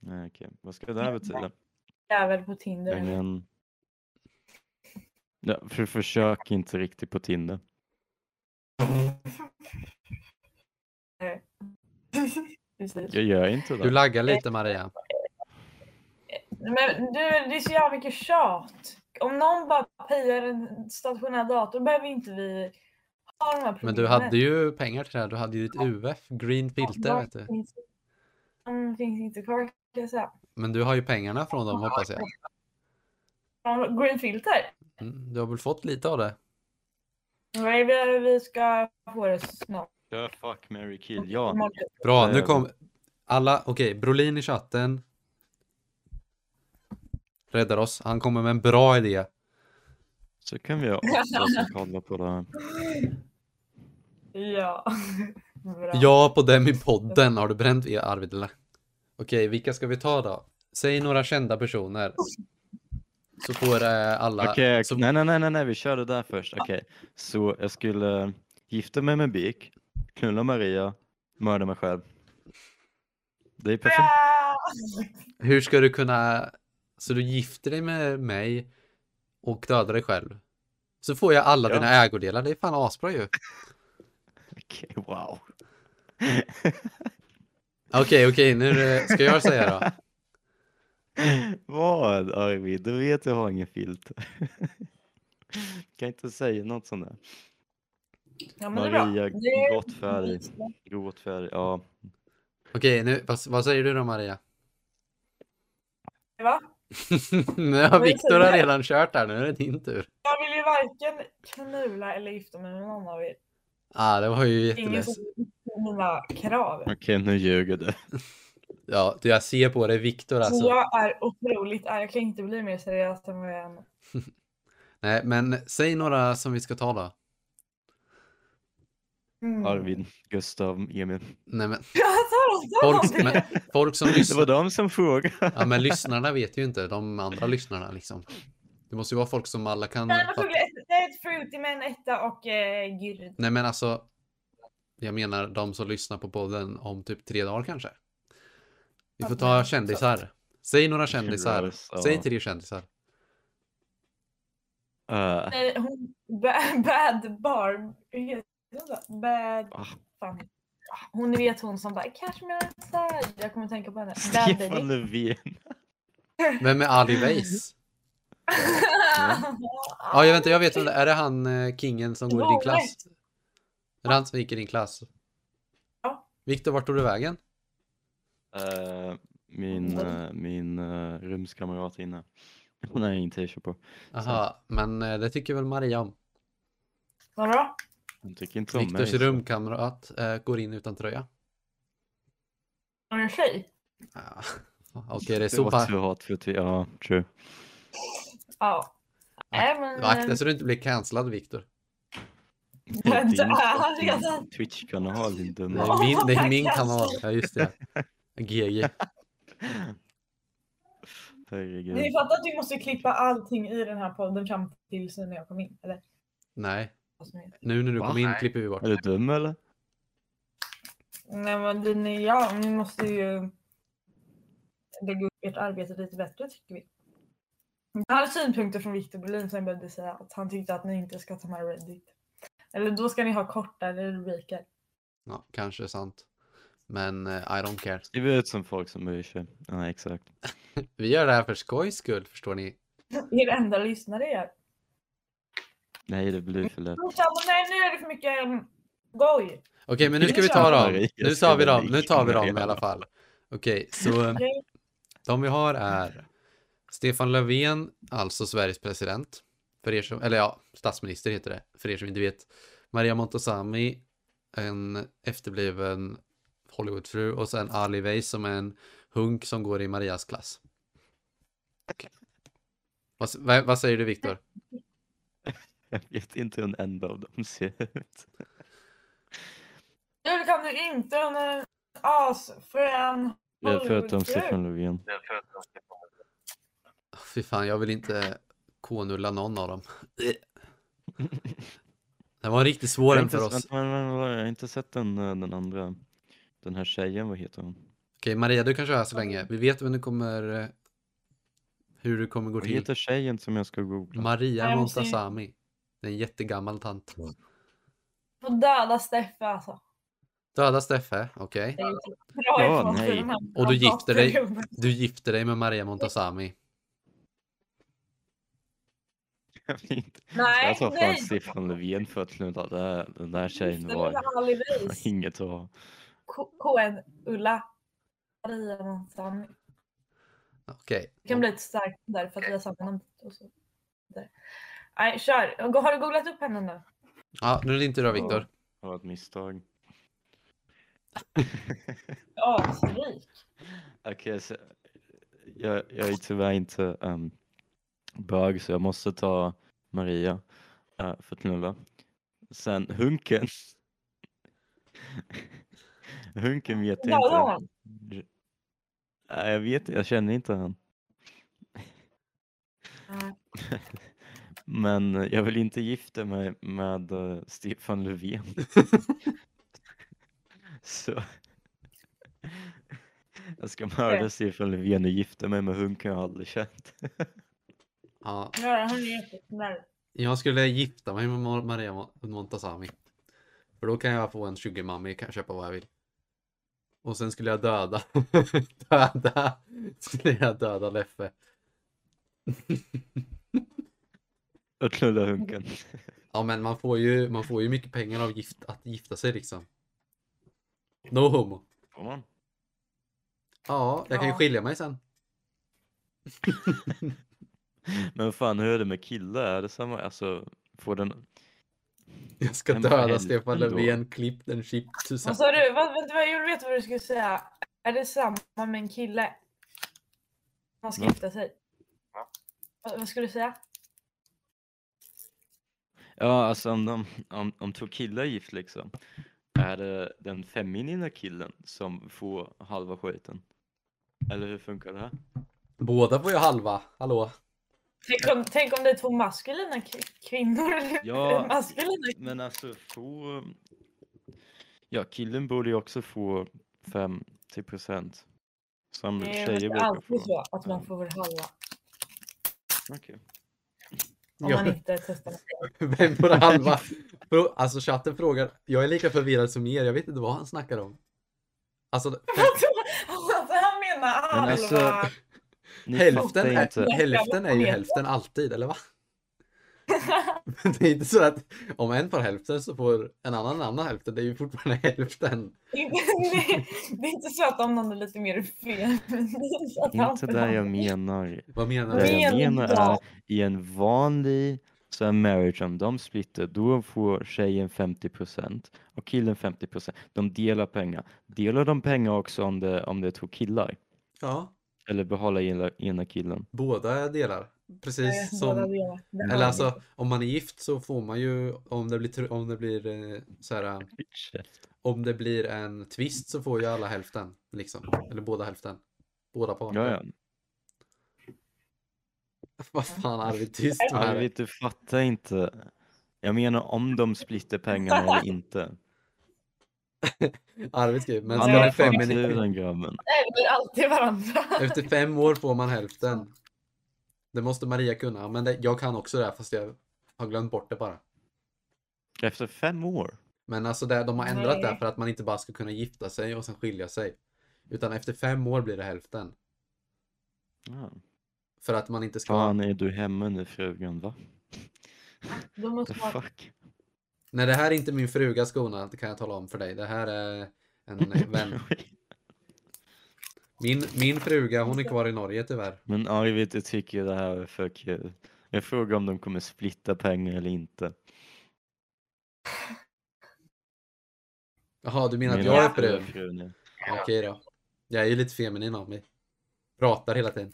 Speaker 2: Nej okej, vad ska det här betyda?
Speaker 4: jävel på
Speaker 2: Jag är
Speaker 4: Tinder.
Speaker 2: ingen... Ja, för försök inte riktigt på Tinder.
Speaker 4: Precis.
Speaker 2: Jag gör inte
Speaker 3: Du
Speaker 2: det.
Speaker 3: laggar lite Maria.
Speaker 4: Men du, det är så jävla mycket tjat. Om någon bara pejar en stationär dator behöver inte vi ha de här problemen.
Speaker 3: Men du hade ju pengar till det här. Du hade ju ditt UF, green filter,
Speaker 4: De
Speaker 3: vet du.
Speaker 4: finns- De finns inte kvar kan jag säga.
Speaker 3: Men du har ju pengarna från dem hoppas jag.
Speaker 4: De- Green filter?
Speaker 3: Mm, Du har väl fått lite av det?
Speaker 4: Nej, vi, vi ska få det snart.
Speaker 2: Kör fuck, marry, kill. Ja,
Speaker 4: Imorgon.
Speaker 3: Bra,
Speaker 2: Det
Speaker 3: nu
Speaker 2: är
Speaker 3: kom alla. Okej, Brolin i chatten. Räddar oss. Han kommer med en bra idé.
Speaker 2: så kan vi också kolla på det här.
Speaker 4: Ja. Bra.
Speaker 3: Ja, på dem i podden. Har du bränt er Arvidla? Okej, vilka ska vi ta då? Säg några kända personer. Så får eh, alla...
Speaker 2: Okej,
Speaker 3: så,
Speaker 2: nej, nej, nej, nej, nej, vi kör det där först. Okej, så jag skulle gifta mig med Birk, knulla Maria, mörda mig själv. Det är perfekt.
Speaker 4: Bra!
Speaker 3: Hur ska du kunna... Så du gifter dig med mig och dödar dig själv. Så får jag alla
Speaker 2: Ja.
Speaker 3: dina ägodelar. Det är fan asbra ju.
Speaker 2: Okej, wow.
Speaker 3: Okej, okej, nu eh, ska jag säga då.
Speaker 2: Vad Arvid, du vet jag har ingen filter. kan inte säga något sånt där.
Speaker 4: Ja, men det är bra.
Speaker 2: Maria,
Speaker 4: Det är-
Speaker 2: gråt färg, gråt färg, ja.
Speaker 3: Okej, nu, vad, vad säger du då Maria?
Speaker 4: Va?
Speaker 3: nu har
Speaker 4: Vad
Speaker 3: Viktor har
Speaker 4: säger jag?
Speaker 3: redan kört här, nu är det din tur.
Speaker 4: Jag vill ju varken knula eller gifta mig med någon av er.
Speaker 3: Ah, det var ju
Speaker 4: Det är Ingen som
Speaker 3: jätteläskigt.
Speaker 4: uppfyller mina krav.
Speaker 2: Okej, nu ljuger du.
Speaker 3: Ja, jag ser på dig Viktor
Speaker 4: Så
Speaker 3: alltså.
Speaker 4: jag är otroligt arg. Jag kan inte bli mer seriös än vad jag är. nu.
Speaker 3: Nej, men säg några som vi ska ta då.
Speaker 4: Mm.
Speaker 2: Arvid, Gustav, Emil.
Speaker 3: Nej, men
Speaker 4: Jag tar också
Speaker 3: folk,
Speaker 4: någonting.
Speaker 3: men, folk som
Speaker 2: Det var
Speaker 3: lyssnar.
Speaker 2: de som frågade.
Speaker 3: Ja, men lyssnarna vet ju inte, de andra lyssnarna liksom. Det måste ju vara folk som alla kan
Speaker 4: Nej, men
Speaker 3: fatta.
Speaker 4: Fuggle, ett- det är ett Fruity med en etta och eh, Gyrd.
Speaker 3: Nej, men alltså. Jag menar de som lyssnar på podden om typ tre dagar kanske. Vi får ta kändisar. Säg några kändisar.
Speaker 2: Kändisar,
Speaker 3: Säg
Speaker 2: ja.
Speaker 3: tre kändisar.
Speaker 2: Eh,
Speaker 4: Nej, hon, ba- bad Barb. Hur heter hon då? Bad...
Speaker 2: Ah.
Speaker 4: Fan. Ah, Hon ni vet hon som bara cashmere side. Jag kommer tänka på henne. Bad
Speaker 2: Stefan
Speaker 4: baby.
Speaker 2: Löfven.
Speaker 3: Vem är Ali Weiss? Ja, jag vet inte, jag vet inte. Är det han eh, kingen som går i din klass? Är det han som gick i din klass?
Speaker 4: Ja.
Speaker 3: Viktor, vart tog du vägen?
Speaker 2: Eh, min
Speaker 4: Vad?
Speaker 2: eh, min eh, rumskamrat inne. Hon har ingen t-shirt på.
Speaker 3: Aha, men eh, det tycker väl Maria om.
Speaker 4: Vadå?
Speaker 2: Hon tycker inte om mig.
Speaker 3: Viktors
Speaker 2: så-
Speaker 3: rumkamrat eh, går in utan tröja.
Speaker 4: Hon är en tjej?
Speaker 3: Ah, Okej, det är
Speaker 2: Det
Speaker 3: så
Speaker 2: var
Speaker 3: pass.
Speaker 2: too hot for tea. Ja, true.
Speaker 4: Ja. Nej, men...
Speaker 3: Akta så du inte blir cancellad, Viktor.
Speaker 2: Det är
Speaker 4: Men
Speaker 2: din
Speaker 4: eh, det är
Speaker 2: fucking
Speaker 4: redan-
Speaker 2: Twitch-kanal, din
Speaker 3: Det
Speaker 2: dumma.
Speaker 4: Ja.
Speaker 3: är min, det är
Speaker 4: my
Speaker 3: min
Speaker 4: God.
Speaker 3: kanal. Ja, just det. GG.
Speaker 4: Ni
Speaker 2: Herregud.
Speaker 4: fattar att vi måste klippa allting i den här podden fram tills när jag kom in? Eller?
Speaker 3: Nej,
Speaker 4: vad som helst.
Speaker 3: nu när du
Speaker 2: Va?
Speaker 3: kom in klipper vi bort.
Speaker 2: Är du dum eller?
Speaker 4: Nej men det, ni, ja, ni måste ju lägga upp ert arbete lite bättre tycker vi. Jag hade synpunkter från Viktor Bolin som jag behövde säga att han tyckte att ni inte ska ta med Reddit. Eller då ska ni ha kortare rubriker.
Speaker 3: Ja, kanske är sant. Men eh, I don't care.
Speaker 2: Skriv ut som folk som bryr sig. Ja, exakt.
Speaker 3: Vi gör det här för skojs skull, förstår ni.
Speaker 4: Er enda lyssnare är.
Speaker 2: Nej, det blir för lätt.
Speaker 4: Men Sam, Nej nu är det för mycket um, Goj!
Speaker 3: Okej, men nu ska vi ta dem. Nu tar vi dem. Nu tar vi dem i alla fall. Okej, så de vi har är Stefan Löfven, alltså Sveriges president. För er som, eller ja, statsminister heter det. För er som inte vet. Maria Montazami, en efterbliven Hollywoodfru. Och sen Ali Weiss som är en hunk som går i Marias klass. Vad, vad, vad säger du Viktor?
Speaker 2: Jag vet inte hur en enda av dem ser ut.
Speaker 4: Hur kan du inte under en eh, asfrän
Speaker 2: Det är förutom Stefan Löfven.
Speaker 3: Fy fan, jag vill inte konulla någon av dem. Det var en riktigt svår
Speaker 2: Jag har
Speaker 3: en
Speaker 2: inte-
Speaker 3: för oss.
Speaker 2: vänta,
Speaker 3: Okej,
Speaker 2: vänta, vänta, Jag har inte sett den, eh, den andra. Den här tjejen, vad heter hon?
Speaker 3: Maria, du kan köra så länge. Vi vet hur du kommer... eh, Hur det kommer gå
Speaker 2: Vad
Speaker 3: till.
Speaker 2: heter tjejen som jag ska googla?
Speaker 3: Maria
Speaker 4: Jag måste-
Speaker 3: Montazami. Det är en jättegammal tant.
Speaker 4: På döda Steffe alltså.
Speaker 3: Döda Steffe, okej.
Speaker 4: Det är ju typ bra
Speaker 2: Ja,
Speaker 4: ifrån sig
Speaker 2: nej.
Speaker 4: de här
Speaker 3: Och du gifter dig.
Speaker 4: datorerna.
Speaker 3: Du gifter dig med Maria Montazami.
Speaker 2: Jag vet inte.
Speaker 4: Nej,
Speaker 2: Jag tar fan
Speaker 4: nej.
Speaker 2: Stefan Löfven för att sluta. Det här- Den där tjejen
Speaker 4: Gifter dig med
Speaker 2: var
Speaker 4: Ali Weiss.
Speaker 2: inget att ha.
Speaker 4: K- KN Ulla. Maria Montan.
Speaker 3: Okej.
Speaker 4: Det kan bli lite starkt där för att vi har samma namn. och så vidare. Nej, kör. Har du googlat upp henne nu?
Speaker 3: Ja, nu är det inte du Viktor.
Speaker 2: Det var ett misstag.
Speaker 4: Asrik.
Speaker 2: Okej, så jag, jag är tyvärr inte um, bög så jag måste ta Maria eh, för att knulla. Sen Hunken. hunken vet jag
Speaker 4: Ja, det har
Speaker 2: inte.
Speaker 4: hon.
Speaker 2: R- Nej, jag vet jag känner inte han.
Speaker 4: Nej.
Speaker 2: Men eh, jag vill inte gifta mig med eh, Stefan Löfven. Så jag ska mörda Stefan Löfven och gifta mig med hunken jag aldrig känt.
Speaker 3: Ja,
Speaker 4: Ja, hon är jättesnäll.
Speaker 3: jag skulle gifta mig med Ma- Maria Mo- Montazami. För då kan jag få en sugarmummy, kan köpa vad jag vill. Och sen skulle jag döda. döda. Skulle jag döda Leffe.
Speaker 2: Och knulla hunken.
Speaker 3: Ja men man får ju, man får ju mycket pengar av gift, att gifta sig liksom. No homo.
Speaker 2: Får man?
Speaker 3: Ja, jag kan ju
Speaker 4: Ja.
Speaker 3: skilja mig sen.
Speaker 2: Men vad fan, hur är det med killar? Är det samma? Alltså, får den...
Speaker 3: Jag ska
Speaker 2: Men vad
Speaker 3: döda
Speaker 2: helvete
Speaker 3: Stefan
Speaker 2: då?
Speaker 3: Löfven, klipp den chip to
Speaker 4: Vad sa du? Vad, vänta, vad, jag vet vad du skulle säga. Är det samma med en kille? Man ska
Speaker 2: Va?
Speaker 4: gifta sig. Vad, vad skulle du säga?
Speaker 2: Ja, alltså om, de, om, om två killar är gift liksom. Är det den feminina killen som får halva skiten? Eller hur funkar det här?
Speaker 3: Båda får ju halva, hallå.
Speaker 4: Tänk om, tänk om det är två maskulina k- kvinnor.
Speaker 2: Ja,
Speaker 4: maskulina.
Speaker 2: Men alltså få... Ja, killen borde ju också få 50 procent. Som
Speaker 4: Nej, men Det
Speaker 2: tjejer
Speaker 4: är
Speaker 2: brukar
Speaker 4: alltid
Speaker 2: få.
Speaker 4: så att man får halva.
Speaker 2: Okej.
Speaker 4: Om
Speaker 3: Ja.
Speaker 4: man inte Alltså, testar. något.
Speaker 3: Vem får halva? Frå- Alltså chatten frågar, jag är lika förvirrad som er, jag vet inte vad han snackar om. Alltså, hä-
Speaker 4: Alltså, han menar halva.
Speaker 2: Men alltså, Ni
Speaker 3: hälften,
Speaker 2: fattar inte.
Speaker 3: är, hälften är ju hälften alltid, eller va? Men det är inte så att om en får hälften så får en annan en annan hälften, det är ju fortfarande hälften.
Speaker 4: Det är inte- det är inte så att om någon är lite mer feminin. så att
Speaker 2: Det är
Speaker 4: han
Speaker 2: inte
Speaker 4: får
Speaker 2: det
Speaker 4: halva.
Speaker 2: jag menar.
Speaker 3: Vad menar
Speaker 2: Det
Speaker 3: du?
Speaker 4: Men-
Speaker 2: jag menar är
Speaker 4: ja.
Speaker 2: i en vanlig så här marriage, om de splitter, då får tjejen 50% och killen 50%. De delar pengar. Delar de pengar också om det, om det är två killar?
Speaker 3: Ja,
Speaker 2: Eller behåller ena, ena killen?
Speaker 3: båda delar.
Speaker 4: Nej,
Speaker 3: Precis
Speaker 4: båda
Speaker 3: som
Speaker 4: delar. Det är
Speaker 3: Eller
Speaker 4: alla.
Speaker 3: alltså, om man är gift så får man ju, om det blir, tr- om det blir eh, så här, om det blir en twist så får ju alla hälften, liksom. Eller båda hälften. Båda parter.
Speaker 2: Ja, ja.
Speaker 3: Vad fan, Arvid, tyst med
Speaker 2: Ja, jag
Speaker 3: Arvid.
Speaker 2: vet, du fattar inte. Jag menar om de splitter pengarna eller inte.
Speaker 3: Arvid skriver, men
Speaker 2: Han
Speaker 3: ska
Speaker 4: Nej,
Speaker 2: har
Speaker 3: det
Speaker 4: jag
Speaker 2: fan
Speaker 3: feminin...
Speaker 2: turen grabben.
Speaker 4: Eller alltid varandra.
Speaker 3: Efter fem år får man hälften. Det måste Maria kunna, men det, jag kan också det här fast jag har glömt bort det bara.
Speaker 2: Efter fem år?
Speaker 3: Men alltså det, de har ändrat det
Speaker 4: Nej.
Speaker 3: för att man inte bara ska kunna gifta sig och sen skilja sig. Utan efter fem år blir det hälften.
Speaker 2: Ja.
Speaker 3: För att man inte ska...
Speaker 2: Fan är du hemma nu frugan va?
Speaker 4: Då måste
Speaker 2: The
Speaker 4: man...
Speaker 2: fuck?
Speaker 3: Nej, det här är inte min fruga skona, det kan jag tala om för dig. Det här är en vän. Min, min fruga, hon är kvar i Norge tyvärr.
Speaker 2: Men Arvid jag tycker det här är för kul. Jag frågar om de kommer splitta pengar eller inte.
Speaker 3: Jaha, du menar att
Speaker 2: Min
Speaker 3: jag är
Speaker 2: fru
Speaker 3: fru?
Speaker 2: fru nu.
Speaker 3: Okej då. Jag är ju lite feminin av mig. Pratar hela tiden.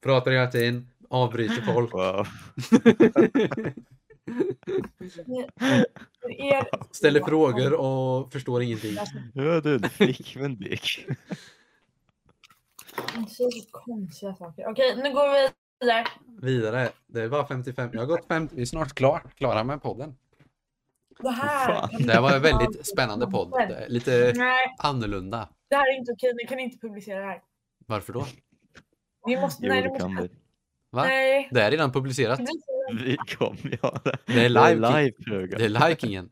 Speaker 3: Pratar hela tiden, avbryter folk.
Speaker 2: Wow.
Speaker 4: För er, alltså,
Speaker 3: Ställer frågor och förstår ingenting.
Speaker 2: Hur har du en flickvän Dick?
Speaker 4: Ni säger så Alltså, konstiga saker. Okej, nu går vi vidare.
Speaker 3: Vidare. Det är bara 55. Jag har gått 50. Vi är snart klar, klara med podden.
Speaker 4: Det här.
Speaker 2: Fan.
Speaker 4: kan
Speaker 3: Det här var en väldigt spännande podd. Det är Lite
Speaker 4: Nej,
Speaker 3: annorlunda.
Speaker 4: det här är inte okej. Ni kan inte publicera det här.
Speaker 3: Varför då?
Speaker 4: Ni måste,
Speaker 2: Jo,
Speaker 4: nej, ni
Speaker 2: det
Speaker 4: måste,
Speaker 2: kan vi.
Speaker 3: Va?
Speaker 4: Nej.
Speaker 3: Det är redan publicerat.
Speaker 2: Vi kommer göra det.
Speaker 3: Det är live, typ.
Speaker 2: Det är live
Speaker 3: Det
Speaker 2: fruga.
Speaker 3: är likingen.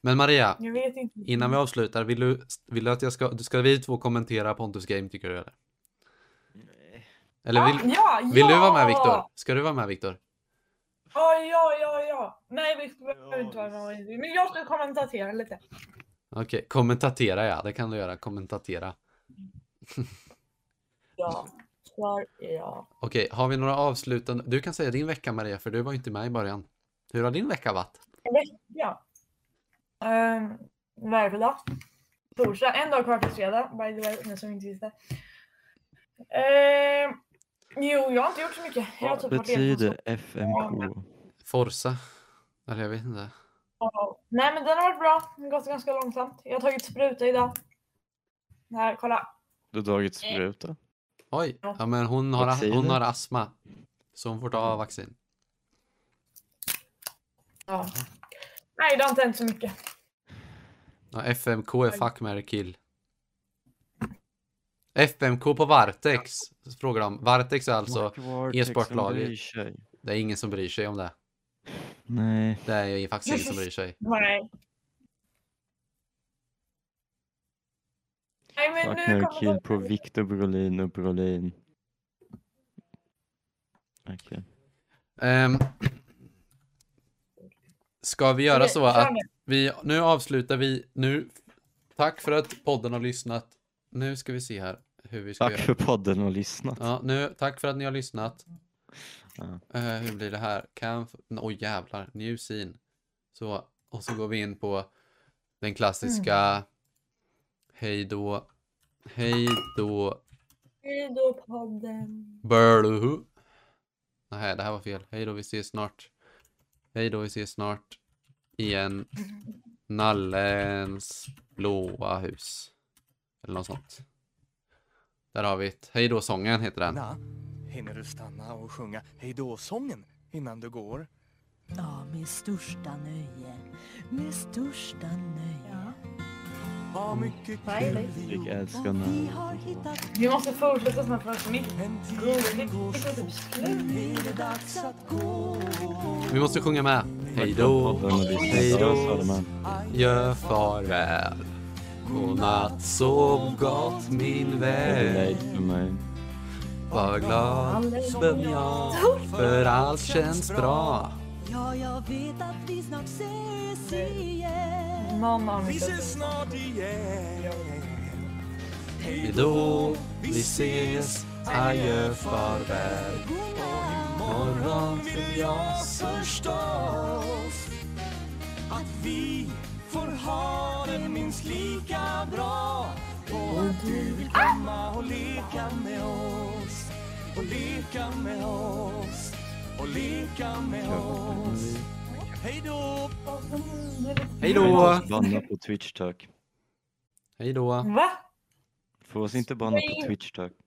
Speaker 3: Men Maria,
Speaker 4: Jag vet inte.
Speaker 3: innan vi avslutar, vill du, vill du att jag ska, ska vi två kommentera Pontus Game tycker du eller? Eller
Speaker 4: Ah,
Speaker 3: vill,
Speaker 4: ja, ja!
Speaker 3: vill du vara med Viktor? Ska du vara med Viktor?
Speaker 4: Ja, ja, ja, ja. Nej, Viktor behöver
Speaker 2: Ja,
Speaker 4: inte vara med.
Speaker 2: visst.
Speaker 4: Men jag ska kommentera lite.
Speaker 3: Okej, kommentatera ja, det kan du göra, kommentatera.
Speaker 4: Ja, svar ja.
Speaker 3: Okej, har vi några avslutande, du kan säga din vecka Maria, för du var ju inte med i början. Hur har din vecka varit?
Speaker 4: Ja. Um, vad är det för dag? Torsdag. En dag kvar till fredag. By the way, ni som inte visste. Ehm, jo, jag har inte gjort så mycket. Jag har
Speaker 2: Vad
Speaker 4: typ varit ensam
Speaker 2: betyder FMK?
Speaker 3: Forza? Eller jag vet inte.
Speaker 4: Ja. Nej men den har varit bra. Den har gått ganska långsamt. Jag har tagit spruta idag. Här, kolla.
Speaker 2: Du har tagit spruta?
Speaker 3: Oj, ja men hon har,
Speaker 2: Vacciner.
Speaker 3: hon har astma. Så hon får ta vaccin.
Speaker 4: Ja. Nej det har inte hänt så mycket.
Speaker 3: Ja, FMK är fuck, marry, kill. FMK på Vartex frågar de. Vartex är alltså,
Speaker 2: Mark Wartex,
Speaker 3: e-sportlaget.
Speaker 2: en bryr sig.
Speaker 3: det är ingen som bryr sig om det.
Speaker 2: Nej.
Speaker 3: Det är ju faktiskt ingen som bryr sig.
Speaker 4: Nej. Nej men
Speaker 2: Fuck,
Speaker 4: nu
Speaker 2: Mary,
Speaker 4: kommer
Speaker 2: Kill
Speaker 4: de...
Speaker 2: på Viktor Brolin och Brolin. Okej.
Speaker 3: Ehm, ska vi göra
Speaker 4: Okej,
Speaker 3: så
Speaker 4: kör
Speaker 3: att
Speaker 4: nu.
Speaker 3: vi, nu avslutar vi, nu, tack för att podden har lyssnat. Nu ska vi se här hur vi ska
Speaker 2: Tack
Speaker 3: göra.
Speaker 2: för podden och lyssnat.
Speaker 3: Ja, nu, tack för att ni har lyssnat.
Speaker 2: Ja.
Speaker 3: Eh, hur blir det här? Kan... f- Oj jävlar, new scene. Så, och så går vi in på den klassiska Hej då, hej då,
Speaker 4: Hej då podden.
Speaker 3: Burluhu. Nej, det här var fel. Hej då, vi ses snart. Hej då, vi ses snart. Igen. Nallens blåa hus. Eller något sånt. Där har vi ett. Hej då-sången heter den.
Speaker 5: Na, hinner du stanna och sjunga hejdå-sången innan du går?
Speaker 6: Ja, med största nöje. Med största nöje.
Speaker 5: Vad mycket kul
Speaker 4: Dejligt.
Speaker 5: vi
Speaker 2: Jag
Speaker 5: gjorde.
Speaker 2: älskar den
Speaker 6: Vi
Speaker 2: här.
Speaker 6: har hittat
Speaker 4: Vi måste fortsätta snart för att mitt
Speaker 5: Men tiden går
Speaker 4: godis är
Speaker 5: så
Speaker 4: typ
Speaker 5: fort,
Speaker 4: slut.
Speaker 5: nu är det dags att gå.
Speaker 3: Vi måste sjunga med. Hej då,
Speaker 2: Podden och lyssnat.
Speaker 3: hej
Speaker 2: Ja,
Speaker 3: då.
Speaker 2: sa de här.
Speaker 3: Gör farväl Godnatt, sov gott min
Speaker 2: Är du
Speaker 3: vän
Speaker 2: nöjd för mig?
Speaker 3: Var glad som jag För allt känns bra
Speaker 6: Ja, jag vet att vi snart ses igen.
Speaker 4: Någon av
Speaker 5: Vi
Speaker 4: mitt
Speaker 5: ses snart igen.
Speaker 3: Hej då, vi ses Adjö, farväl
Speaker 6: Godnatt.
Speaker 3: Morgon
Speaker 5: Vill jag förstås att vi får ha det minst lika bra och att du vill komma och leka med oss och leka med oss och leka med oss Hej då!
Speaker 2: Får
Speaker 3: Hej då!
Speaker 2: inte oss banna på Twitch tack.
Speaker 3: Hej då!
Speaker 4: Va?
Speaker 2: Får oss inte banna
Speaker 4: Nej.
Speaker 2: på Twitch tack.